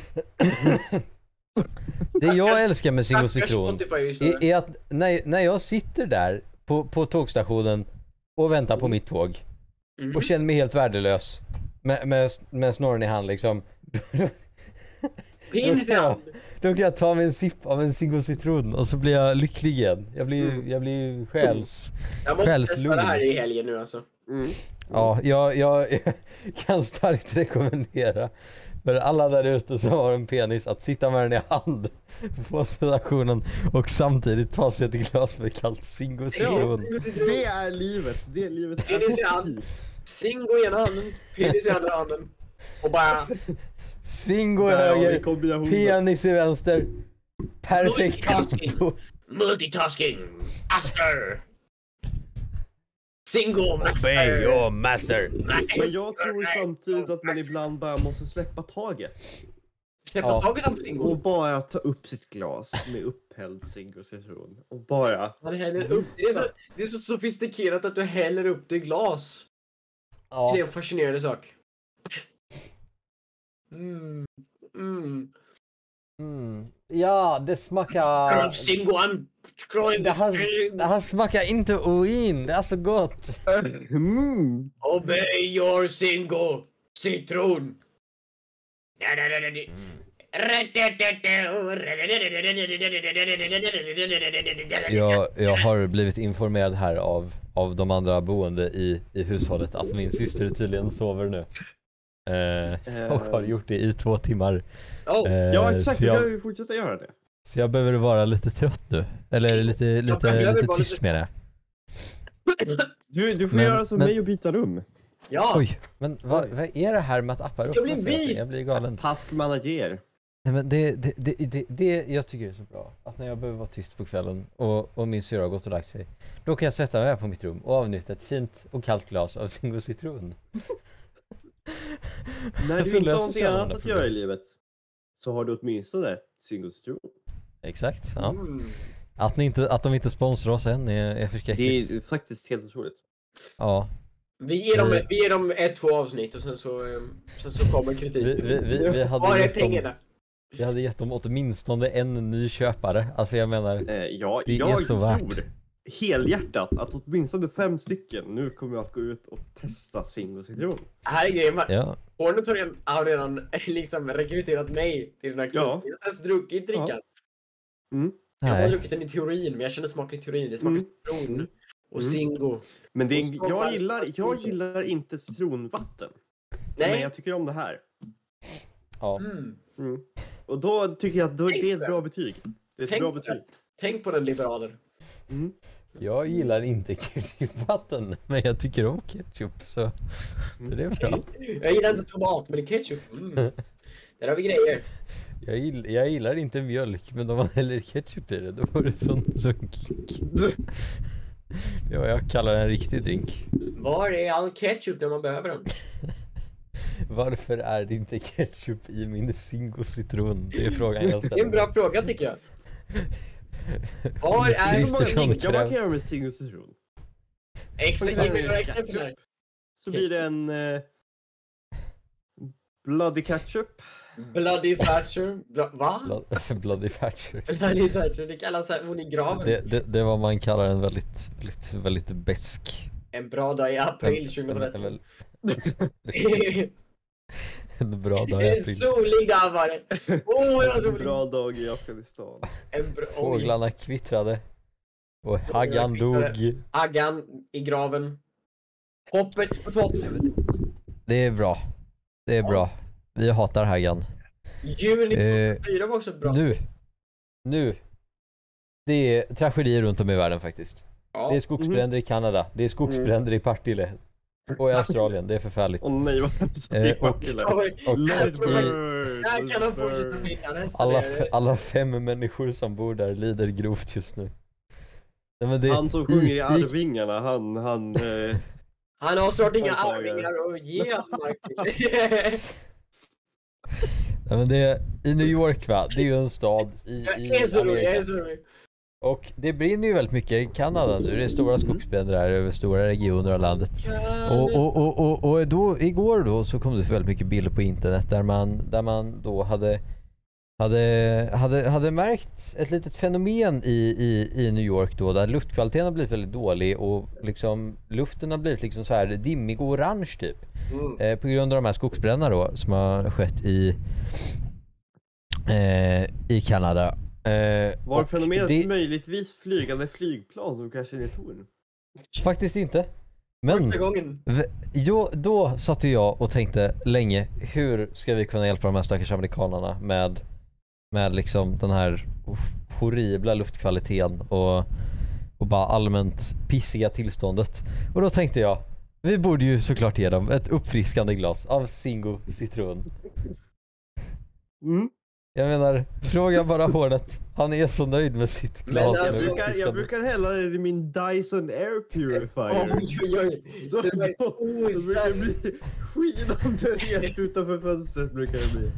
Speaker 2: Det jag älskar med Singo
Speaker 3: Stackars
Speaker 2: citron.
Speaker 3: Spotify lyssnare.
Speaker 2: är, är att när, när jag sitter där på, på tågstationen och väntar
Speaker 1: Mm.
Speaker 2: på mitt tåg
Speaker 3: Mhm.
Speaker 2: och känner mig helt värdelös med, med, med snorren i hand liksom.
Speaker 3: Pinsamt!
Speaker 2: Då kan jag ta mig en sipp av en Zingo citron och så blir jag lycklig igen. Jag blir,
Speaker 3: Mm.
Speaker 2: jag blir själs...
Speaker 3: Jag måste testa
Speaker 2: Själslugn.
Speaker 3: det här i helgen nu alltså.
Speaker 1: Mm.
Speaker 2: Ja, jag, jag kan starkt rekommendera för alla där ute som har en penis att sitta med den i hand på stationen och samtidigt ta sig ett glas med kallt Zingo citron.
Speaker 1: Det är livet. Det är livet.
Speaker 3: Det är det jag- Singo i ena handen, penis i andra handen. Och bara...
Speaker 2: Zingo i
Speaker 1: Där har vi
Speaker 2: höger,
Speaker 1: kombinationen.
Speaker 2: penis i vänster. Perfekt
Speaker 3: Multitasking.
Speaker 2: kombo.
Speaker 3: Multitasking! Aster! Singo
Speaker 2: Obey
Speaker 3: master!
Speaker 2: your master.
Speaker 1: Men jag tror samtidigt att man ibland bara måste släppa taget
Speaker 3: Släppa
Speaker 2: Ja.
Speaker 3: taget om Singo.
Speaker 1: och bara ta upp sitt glas med upphälld cigg och citron och bara
Speaker 3: Han häller upp. Det är, så, det är så sofistikerat att du häller upp det i glas.
Speaker 2: Ja.
Speaker 3: Det är en fascinerande sak. Mm. Mm.
Speaker 2: Mm. ja, det smakar...
Speaker 3: Singo, I'm scrolling
Speaker 2: Det här, det här smakar inte urin, det är så gott.
Speaker 1: mm.
Speaker 3: Obey your single citron.
Speaker 2: Jag, jag har blivit informerad här av, av de andra boende i, i hushållet att min syster tydligen sover nu. Eh, och har gjort det i två timmar. Eh,
Speaker 3: Oh,
Speaker 1: Ja exakt,
Speaker 2: så,
Speaker 1: du behöver
Speaker 2: jag,
Speaker 1: ju fortsätta göra det.
Speaker 2: så jag behöver vara lite trött nu. Eller lite,
Speaker 3: jag
Speaker 2: lite,
Speaker 3: behöver
Speaker 2: lite
Speaker 3: vara
Speaker 2: tyst
Speaker 3: lite-
Speaker 2: med det.
Speaker 1: Du, du får
Speaker 2: Men-
Speaker 1: göra som
Speaker 2: men-
Speaker 1: mig och byta rum.
Speaker 3: ja,
Speaker 2: Oj, men vad, vad är det här med att appar
Speaker 3: Jag blir
Speaker 2: öppnas hela tiden?
Speaker 3: vit!
Speaker 2: Jag blir galen.
Speaker 1: Taskmanager.
Speaker 2: Nej, men det, det, det, det, det jag tycker är så bra, att när jag behöver vara tyst på kvällen och, och min syrra har gått och lagt sig, då kan jag sätta mig här på mitt rum och avnjuta ett fint och kallt glas av Zingo citron.
Speaker 1: När
Speaker 2: Så
Speaker 1: du inte
Speaker 2: löser
Speaker 1: har någonting
Speaker 2: sig alla
Speaker 1: annat
Speaker 2: andra
Speaker 1: att göra i
Speaker 2: problem.
Speaker 1: livet så har du åtminstone cigg och citron.
Speaker 2: Exakt. Ja.
Speaker 3: Mm.
Speaker 2: Att, ni inte, att de inte sponsrar oss än är, är
Speaker 1: Det
Speaker 2: förskräckligt.
Speaker 1: är faktiskt helt otroligt.
Speaker 2: Ja.
Speaker 3: vi, ger
Speaker 2: Eh.
Speaker 3: dem, vi ger dem ett, två avsnitt och sen så, eh, sen så kommer
Speaker 2: Vi,
Speaker 3: kritiken.
Speaker 2: vi, vi, vi,
Speaker 3: Var
Speaker 2: hade
Speaker 3: är
Speaker 2: gett dem,
Speaker 3: pengarna?
Speaker 2: vi hade gett dem åtminstone en ny köpare. Alltså jag menar,
Speaker 1: Eh, ja,
Speaker 2: Det är
Speaker 1: jag tror
Speaker 2: så värt.
Speaker 1: helhjärtat att åtminstone fem stycken nu kommer att gå ut och testa cigg och citron.
Speaker 3: Här är grejen. va?
Speaker 2: ja.
Speaker 3: Hornet har redan, har redan liksom rekryterat mig till den här klubben.
Speaker 1: Ja.
Speaker 3: Jag har inte ens druckit drickan.
Speaker 1: Ja. Mm.
Speaker 3: Jag har
Speaker 2: Nej.
Speaker 3: druckit den i teorin, men jag känner smaken i teorin. Det smakar
Speaker 1: Mm.
Speaker 3: citron
Speaker 1: Mm.
Speaker 3: och
Speaker 1: Mm.
Speaker 3: Zingo.
Speaker 1: Men det
Speaker 3: Och
Speaker 1: är,
Speaker 3: smakar-
Speaker 1: jag, gillar, jag gillar inte citronvatten. Men
Speaker 3: Nej.
Speaker 1: jag tycker om det här.
Speaker 2: Ja.
Speaker 3: Mm.
Speaker 1: Mm. Och då tycker jag att då, det är ett bra betyg. Det är ett
Speaker 3: Tänk
Speaker 1: bra
Speaker 3: på det.
Speaker 1: betyg.
Speaker 3: Tänk på den liberaler.
Speaker 1: Mm.
Speaker 2: Jag gillar inte ketchupvatten, men jag tycker om ketchup så, så det är
Speaker 3: Mm.
Speaker 2: bra.
Speaker 3: Jag gillar inte tomat, men ketchup. Mm. Där har vi grejer.
Speaker 2: Jag, gill, jag gillar inte mjölk, men om man häller ketchup i det, då var det sån, sån kick. Det är vad jag kallar en riktig drink.
Speaker 3: Var är all ketchup när man behöver den?
Speaker 2: Varför är det inte ketchup i min Zingo citron? Det är frågan jag
Speaker 3: Det är en
Speaker 2: ställer.
Speaker 3: bra fråga tycker jag. Var
Speaker 1: Det
Speaker 3: är...
Speaker 1: är så många
Speaker 2: Kristersson
Speaker 1: drinkar man
Speaker 2: kräver.
Speaker 1: kan göra med Stigustron.
Speaker 3: Exakt, ge mig några exempel här.
Speaker 1: Så blir det en... Eh, bloody ketchup.
Speaker 3: Bloody Thatcher. Bla- va?
Speaker 2: Blood, Bloody Thatcher.
Speaker 3: Bloody Thatcher, det kallas här, hon i graven.
Speaker 2: Det, det, det är vad man kallar en väldigt, väldigt, väldigt besk.
Speaker 3: En bra dag i april
Speaker 2: en, en, en,
Speaker 3: 2013.
Speaker 2: väl- en bra dag i
Speaker 3: en
Speaker 2: april.
Speaker 3: solig dag var det. Åh, oh, jag
Speaker 1: En
Speaker 3: solig.
Speaker 1: bra dag i Afghanistan.
Speaker 3: En bra... Oj,
Speaker 2: Fåglarna kvittrade. Och haggan
Speaker 3: kvittrade.
Speaker 2: dog.
Speaker 3: Aggan i graven. Hoppet på topp.
Speaker 2: Det är bra. Det är bra. Vi hatar haggan.
Speaker 3: Juni
Speaker 2: Eh,
Speaker 3: 2004 var också bra.
Speaker 2: Nu. Nu. Det är tragedier runt om i världen faktiskt. Det
Speaker 3: Ja. Mhm.
Speaker 2: är skogsbränder i Kanada. Det är skogsbränder i Partille. Och i Australien. Det är förfärligt.
Speaker 1: Åh nej vad hemskt
Speaker 2: Eh,
Speaker 1: det gick
Speaker 2: och-
Speaker 1: bort till
Speaker 3: Ja, men
Speaker 2: Och
Speaker 1: Let it
Speaker 3: i-
Speaker 1: burn!
Speaker 3: Där
Speaker 1: let
Speaker 3: kan
Speaker 1: it
Speaker 3: de fortsätta
Speaker 1: burn.
Speaker 3: vinna nästa.
Speaker 2: alla,
Speaker 3: Alla
Speaker 2: f- alla fem människor som bor där lider grovt just nu. Nej, men det,
Speaker 1: Han som sjunger
Speaker 2: i-
Speaker 1: i
Speaker 2: i-
Speaker 1: Arvingarna, han, han... Eh,
Speaker 3: Han har snart inga
Speaker 1: Företagare.
Speaker 3: arvingar att ge han, Marcus.
Speaker 2: Nej, men det, I New York va, det är ju en stad i, i
Speaker 3: Jag är så rolig, jag är
Speaker 2: Amerika.
Speaker 3: så rolig.
Speaker 2: Och det brinner ju väldigt mycket i Kanada nu. Det är stora skogsbränder här över stora regioner av landet. Mm. Och, och, och, och, och då, igår då så kom det väldigt mycket bilder på internet där man, där man då hade, hade, hade, hade märkt ett litet fenomen i, i, i New York då där luftkvaliteten har blivit väldigt dålig och liksom luften har blivit liksom så här dimmig och orange typ.
Speaker 3: Mm.
Speaker 2: Eh, på grund av de här skogsbränderna då som har skett i, eh, i Kanada. Eh,
Speaker 1: var
Speaker 2: och
Speaker 1: fenomenet
Speaker 2: det-
Speaker 1: möjligtvis flygande flygplan som kraschar in i torn?
Speaker 2: Faktiskt inte. Men
Speaker 3: Första gången.
Speaker 2: V- Jo, då satt ju jag och tänkte länge, hur ska vi kunna hjälpa de här stackars amerikanarna med, med liksom den här horribla luftkvaliteten och, och bara allmänt pissiga tillståndet. Och då tänkte jag, vi borde ju såklart ge dem ett uppfriskande glas av Zingo citron.
Speaker 1: Mm.
Speaker 2: Jag menar, fråga bara Hornet. Han är så nöjd med sitt
Speaker 3: Men
Speaker 2: glas.
Speaker 3: alltså,
Speaker 2: med
Speaker 1: Jag brukar, jag
Speaker 2: uppfriskande-
Speaker 1: brukar hälla det i min Dyson Air Purifier.
Speaker 3: Oj, oj, oj.
Speaker 1: Så
Speaker 3: Så
Speaker 1: då,
Speaker 3: det var ju
Speaker 1: då brukar det
Speaker 3: osam-
Speaker 1: bli skinande rent utanför fönstret brukar det bli.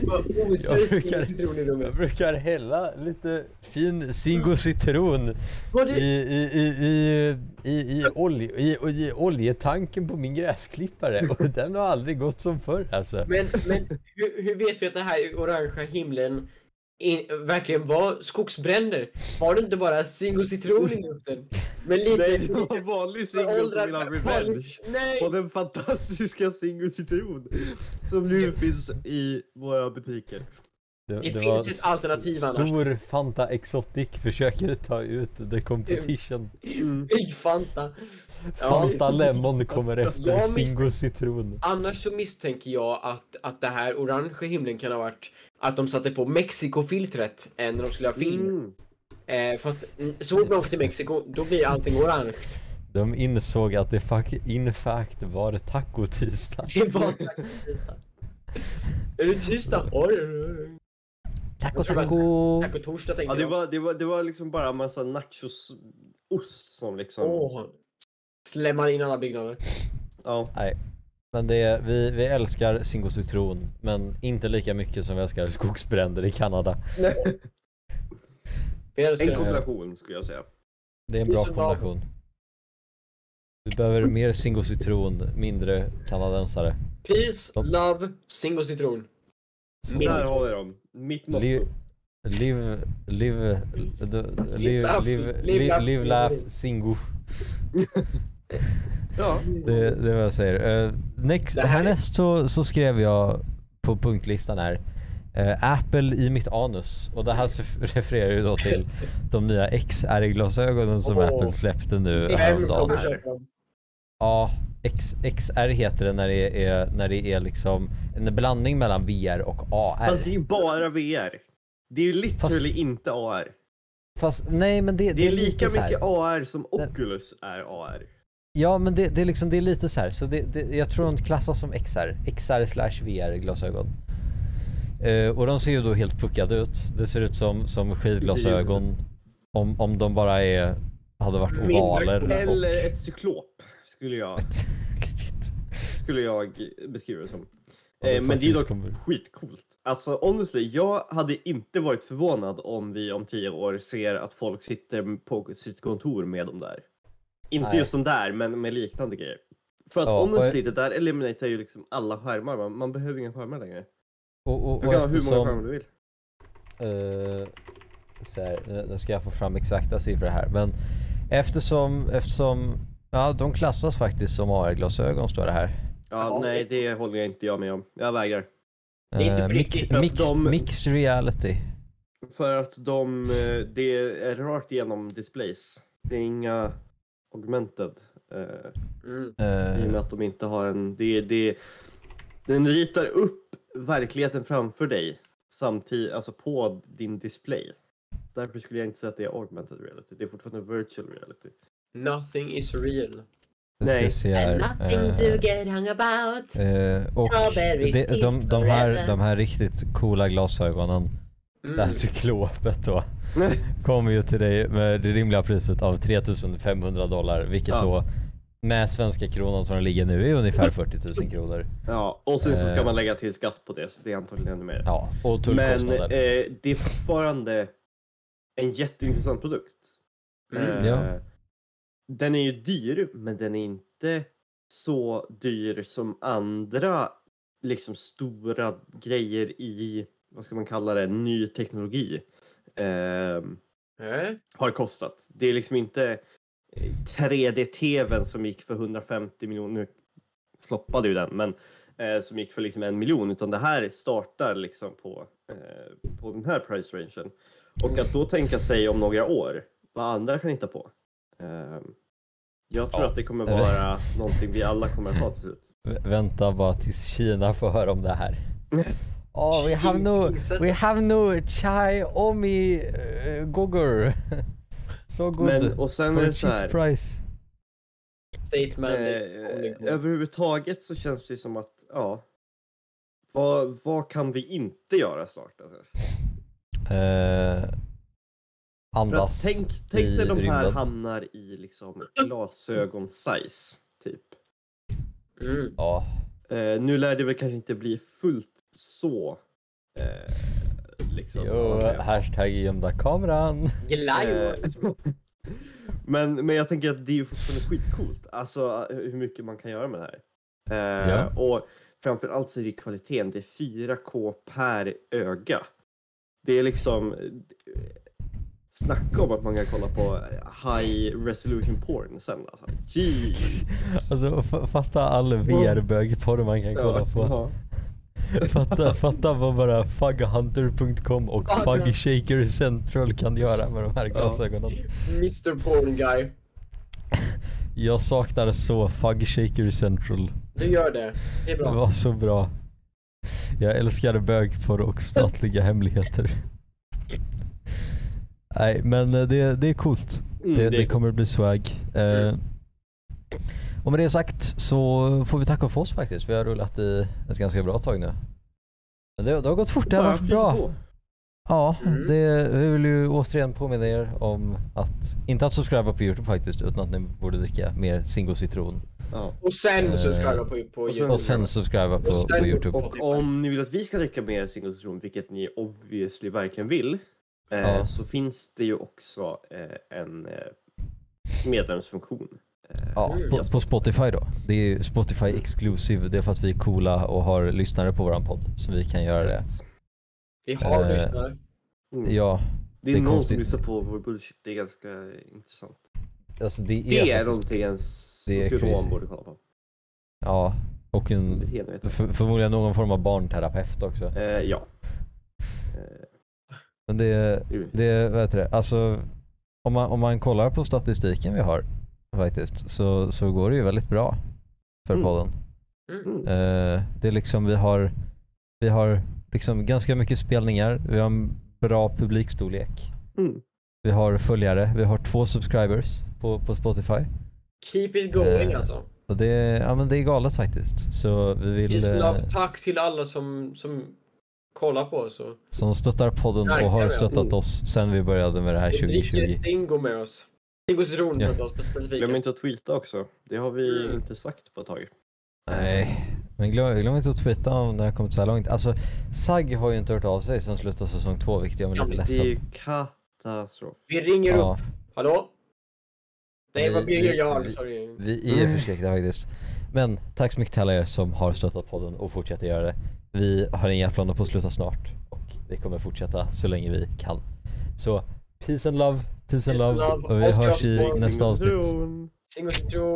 Speaker 3: det var
Speaker 2: Jag
Speaker 3: osöjd
Speaker 2: brukar-
Speaker 3: citron i
Speaker 2: jag
Speaker 3: rummet.
Speaker 2: brukar hälla lite fin Zingo citron
Speaker 3: Var
Speaker 2: I,
Speaker 3: det,
Speaker 2: i, i, i, i, i, olje, i, i oljetanken på min gräsklippare och den har aldrig gått som förr alltså.
Speaker 3: men men hur, hur vet vi att det här orangea himlen in, verkligen var skogsbränder? Var det inte bara zingo citron i luften? Men lite...
Speaker 1: Nej, det var en vanlig singel som vill ha revenge.
Speaker 3: Nej!
Speaker 1: På den fantastiska Singo Citron. Som nu finns i våra butiker.
Speaker 2: Det,
Speaker 3: Det,
Speaker 2: det
Speaker 3: finns
Speaker 2: var
Speaker 3: ett alternativ annars.
Speaker 2: stor Fanta Exotic försöker ta ut the competition.
Speaker 1: Mm.
Speaker 3: Fy Fanta. Ja,
Speaker 2: Fanta Lemon kommer efter
Speaker 3: Jag
Speaker 2: Zingo Citron.
Speaker 3: annars så misstänker jag att, att det här orangea himlen kan ha varit att de satte på Mexiko-filtret eh, när de skulle ha film.
Speaker 1: Mm.
Speaker 3: Eh, för att mm, så fort man åker till Mexiko, då blir allting orange.
Speaker 2: De insåg att det fuck, in fact var tacotisdag.
Speaker 3: Det är bara tisdag. Är det tisdag? Oj, oj, oj.
Speaker 2: Taco
Speaker 3: Jag tror att-
Speaker 2: taco!
Speaker 3: Tack och torsdag
Speaker 1: Ja,
Speaker 3: tänkte
Speaker 1: det,
Speaker 3: jag.
Speaker 1: var, det, var, det var liksom bara en massa nachosost som liksom...
Speaker 3: Åh. Slämmar in alla byggnader.
Speaker 1: Ja.
Speaker 2: Men det, vi, vi älskar Zingo Citron men inte lika mycket som vi älskar skogsbränder i Kanada.
Speaker 3: Jag älskar
Speaker 1: En
Speaker 3: det.
Speaker 1: kombination skulle jag säga.
Speaker 2: Det är en
Speaker 3: Det Mm. är
Speaker 2: bra
Speaker 3: så
Speaker 2: kombination. Vi behöver mer Zingo citron, mindre kanadensare.
Speaker 3: Peace, love, singo citron.
Speaker 1: Så
Speaker 3: Mint.
Speaker 1: där har vi dem. Mitt
Speaker 2: Liv,
Speaker 1: motto.
Speaker 2: liv, liv, liv,
Speaker 3: laugh,
Speaker 2: liv,
Speaker 3: live,
Speaker 2: liv,
Speaker 3: laugh,
Speaker 2: liv, laugh, Zingo.
Speaker 1: Ja.
Speaker 2: Det, det är vad jag säger. Eh, next,
Speaker 3: Det här är-
Speaker 2: härnäst så, så skrev jag på punktlistan här eh, Apple i mitt anus och det här så- refererar ju då till de nya XR-glasögonen som
Speaker 3: Åh.
Speaker 2: Apple släppte nu
Speaker 3: Vem
Speaker 2: häromdagen.
Speaker 3: kommer köpa dem?
Speaker 2: Ja, X, XR heter det när det är, när det är liksom en blandning mellan VR och AR.
Speaker 1: Fast det är
Speaker 2: Fast,
Speaker 1: ju bara VR. Det är ju literally inte AR.
Speaker 2: nej men det,
Speaker 1: Det är
Speaker 2: lite
Speaker 1: lika
Speaker 2: så här.
Speaker 1: mycket AR som
Speaker 2: Det-
Speaker 1: Oculus är AR.
Speaker 2: Ja men det, det är liksom, det är lite så här. Så det, det, jag tror de klassas som XR. XR slash VR glasögon. Eh, och de ser ju då helt puckade ut. Det ser ut som, som skidglasögon. Om, om de bara är, hade varit
Speaker 3: Mindre
Speaker 2: ovaler. Och,
Speaker 1: Eller ett cyklop skulle jag, skulle jag beskriva det som.
Speaker 2: Alltså,
Speaker 1: Eh, men det är dock
Speaker 2: Kommer-
Speaker 1: skitcoolt. Alltså honestly, jag hade inte varit förvånad om vi om tio år ser att folk sitter på sitt kontor med de där. Inte
Speaker 2: Nej.
Speaker 1: just de där, men med liknande grejer. För att
Speaker 2: Ja, och-
Speaker 1: honestly, det där eliminerar ju liksom alla skärmar. Man, man behöver inga skärmar längre.
Speaker 2: Och, och,
Speaker 1: Du
Speaker 2: och
Speaker 1: kan ha hur många
Speaker 2: eftersom...
Speaker 1: skärmar du vill.
Speaker 2: eh, så här, nu- nu ska jag få fram exakta siffror här. Men eftersom... eftersom ja, de klassas faktiskt som AR-glasögon står det här.
Speaker 1: Ja,
Speaker 3: Ja,
Speaker 1: nej,
Speaker 3: det-
Speaker 1: det håller jag inte jag med om. Jag vägrar.
Speaker 3: Det är inte
Speaker 2: Eh,
Speaker 3: på riktigt,
Speaker 1: för att
Speaker 2: mixed,
Speaker 1: de-
Speaker 2: mixed reality.
Speaker 1: För att de, eh, det är rakt igenom displays. Det är inga augmented. eh,
Speaker 3: Mm.
Speaker 2: Eh,
Speaker 1: I och med att de inte har en... Det, det, den ritar upp verkligheten framför dig samtidigt, alltså på din display. Därför skulle jag inte säga att det är augmented reality. Det är fortfarande virtual reality.
Speaker 3: Nothing is real.
Speaker 1: nej.
Speaker 2: CCR. eh,
Speaker 3: get hung about.
Speaker 2: Eh, och
Speaker 3: Strawberry
Speaker 2: de,
Speaker 3: is
Speaker 2: de, de, här,
Speaker 3: forever.
Speaker 2: de här riktigt coola glasögonen,
Speaker 3: Mm.
Speaker 2: det här cyklopet då, kommer ju till dig med det rimliga priset av 3500 dollar, vilket
Speaker 1: Ja.
Speaker 2: då med svenska kronan som den ligger nu är ungefär 40 000 kronor.
Speaker 1: Ja, och sen så ska
Speaker 2: Eh.
Speaker 1: man lägga till skatt på det, så det är antagligen ännu mer.
Speaker 2: Ja, och
Speaker 1: Men
Speaker 2: tullkostnader.
Speaker 1: eh, det är fortfarande en jätteintressant produkt.
Speaker 3: Mm.
Speaker 1: Eh,
Speaker 2: Ja.
Speaker 1: Den är ju dyr, men den är inte så dyr som andra liksom stora grejer i, vad ska man kalla det, ny teknologi eh,
Speaker 3: Eh?
Speaker 1: har kostat. Det är liksom inte eh, 3D-TVn som gick för 150 miljoner, nu floppade ju den, men eh, som gick för liksom en miljon, utan det här startar liksom på, eh, på den här price rangen. Och att då tänka sig om några år vad andra kan hitta på. Eh, jag tror
Speaker 2: Ja.
Speaker 1: att det kommer vara någonting vi alla kommer att ha till slut.
Speaker 2: Vä- Vänta bara tills Kina får höra om det här. Oh, we have no, we have no chai omi uh, gogur. So good.
Speaker 1: Men, och sen
Speaker 2: for
Speaker 1: är
Speaker 2: a
Speaker 1: det så här.
Speaker 2: cheap price.
Speaker 3: Statement. om det
Speaker 1: Eh,
Speaker 3: går.
Speaker 1: överhuvudtaget så känns det som att, ja. Vad, vad kan vi inte göra snart? Alltså?
Speaker 2: Eh,
Speaker 1: För att
Speaker 2: andas
Speaker 1: tänk, tänk
Speaker 2: i
Speaker 1: när de här
Speaker 2: rymden.
Speaker 1: hamnar i liksom glasögon-size, typ.
Speaker 3: Mm.
Speaker 2: Ja.
Speaker 1: Eh, nu lär det väl kanske inte bli fullt så, eh, liksom. vad
Speaker 2: Jo,
Speaker 1: man säger.
Speaker 2: hashtag gömda kameran.
Speaker 3: Glajo.
Speaker 1: Eh, men, men jag tänker att det är ju fortfarande skitcoolt. Alltså hur mycket man kan göra med det här. Eh,
Speaker 2: Ja.
Speaker 1: Och framförallt så är det kvaliteten. Det är 4K per öga. Det är liksom... eh, Snacka om att man kan kolla på high resolution porn sen alltså. Jesus.
Speaker 2: Alltså f- fatta all VR-bögporr man kan kolla på.
Speaker 1: ja.
Speaker 2: Fatta, fatta vad bara fughunter.com och
Speaker 3: Ja, men-
Speaker 2: fugshaker central kan göra med de här glasögonen.
Speaker 3: Mr Porn Guy.
Speaker 2: Jag saknar så fugshaker central.
Speaker 3: Du gör det. Det är
Speaker 2: Det
Speaker 3: bra.
Speaker 2: var så bra. Jag älskar bögporr och statliga hemligheter. Nej, men eh, det, det är coolt.
Speaker 1: Mm,
Speaker 2: det,
Speaker 1: det
Speaker 2: det,
Speaker 1: är
Speaker 2: kommer bli swag. Eh, och med det sagt så får vi tacka för oss faktiskt. Vi har rullat i ett ganska bra tag nu. Men Det, det har gått fort, det har
Speaker 1: Bara
Speaker 2: varit
Speaker 1: flyter
Speaker 2: bra.
Speaker 1: på.
Speaker 2: Ja,
Speaker 3: Mm.
Speaker 2: det, vi vill ju återigen påminna er om att inte att subscriba på Youtube faktiskt utan att ni borde dricka mer Zingo citron.
Speaker 1: Ja.
Speaker 3: Och sen så ska
Speaker 2: Eh,
Speaker 3: jag på, på
Speaker 1: och sen-
Speaker 3: YouTube.
Speaker 2: Och sen subscriba på,
Speaker 3: Och sen-
Speaker 2: på Youtube.
Speaker 1: Och om ni vill att vi ska dricka mer singelsession, vilket ni obviously verkligen vill, eh,
Speaker 2: Ja.
Speaker 1: så finns det ju också eh, en eh, medlemsfunktion. Eh,
Speaker 2: Ja,
Speaker 1: via
Speaker 2: på, på Spotify då. Det är ju Spotify exclusive. Det är för att vi är coola och har lyssnare på våran podd så vi kan göra det.
Speaker 3: Vi har
Speaker 2: eh,
Speaker 3: lyssnare.
Speaker 1: Mm.
Speaker 2: Ja,
Speaker 1: det är,
Speaker 2: det är
Speaker 1: någon
Speaker 2: konstigt.
Speaker 1: som lyssnar på vår bullshit, det är ganska intressant.
Speaker 2: alltså det är,
Speaker 1: Det är,
Speaker 2: faktiskt-
Speaker 1: någonting en
Speaker 2: det är crazy. Mm.
Speaker 1: socionom borde kolla på.
Speaker 2: Ja, och en,
Speaker 1: Beteendevetare.
Speaker 2: för, förmodligen någon form av barnterapeut också.
Speaker 1: Eh, ja. Eh,
Speaker 2: Men det,
Speaker 1: givetvis.
Speaker 2: det, vad heter det, alltså om man, om man kollar på statistiken vi har faktiskt så, så går det ju väldigt bra för
Speaker 1: Mm.
Speaker 2: podden.
Speaker 3: Mm.
Speaker 1: Mm.
Speaker 2: Eh, det är liksom, vi har, vi har liksom ganska mycket spelningar, vi har en bra publikstorlek.
Speaker 1: Mm.
Speaker 2: Vi har följare, vi har två subscribers på, på Spotify.
Speaker 3: Keep it going
Speaker 2: eh,
Speaker 3: alltså.
Speaker 2: Och det, ja, men det är galet faktiskt. Så vi vill,
Speaker 3: Just
Speaker 2: eh,
Speaker 3: love. Tack till alla som, som kollar på oss. och-
Speaker 2: som stöttar podden och har
Speaker 3: Verkligen.
Speaker 2: stöttat oss sen vi började med det här
Speaker 3: Och dricker
Speaker 2: 2020.
Speaker 3: Dingo med oss. Dingos ron
Speaker 2: Eh, Ja.
Speaker 3: med oss specifikt.
Speaker 1: Glöm inte att tweeta också. Det har vi
Speaker 3: Mm.
Speaker 1: inte sagt på ett tag.
Speaker 2: Nej, Men glöm, glöm inte att tweeta om när jag kommit så här långt. Alltså, SAG har ju inte hört av sig sedan slutet av säsong två, vilket jag är
Speaker 3: Ja,
Speaker 2: lite
Speaker 3: men
Speaker 1: Det är
Speaker 2: ledsen.
Speaker 1: ju katastrof.
Speaker 3: Vi ringer
Speaker 2: Ja,
Speaker 3: upp. Hallå? Nej,
Speaker 2: Vi-
Speaker 3: vad Birger
Speaker 2: vi-
Speaker 3: jag.
Speaker 2: vi-
Speaker 3: Sorry.
Speaker 2: vi
Speaker 3: Mm.
Speaker 2: är förskräckta faktiskt. Men tack så mycket till alla er som har stöttat podden och fortsätter göra det. Vi har inga planer på att sluta snart och vi kommer fortsätta så länge vi kan. Så peace and love, peace and
Speaker 3: Peace and
Speaker 2: love
Speaker 3: love.
Speaker 2: och vi
Speaker 3: Oskar
Speaker 2: hörs i
Speaker 3: Sponsing.
Speaker 2: nästa avsnitt.
Speaker 1: Citron.
Speaker 3: Sing och citron.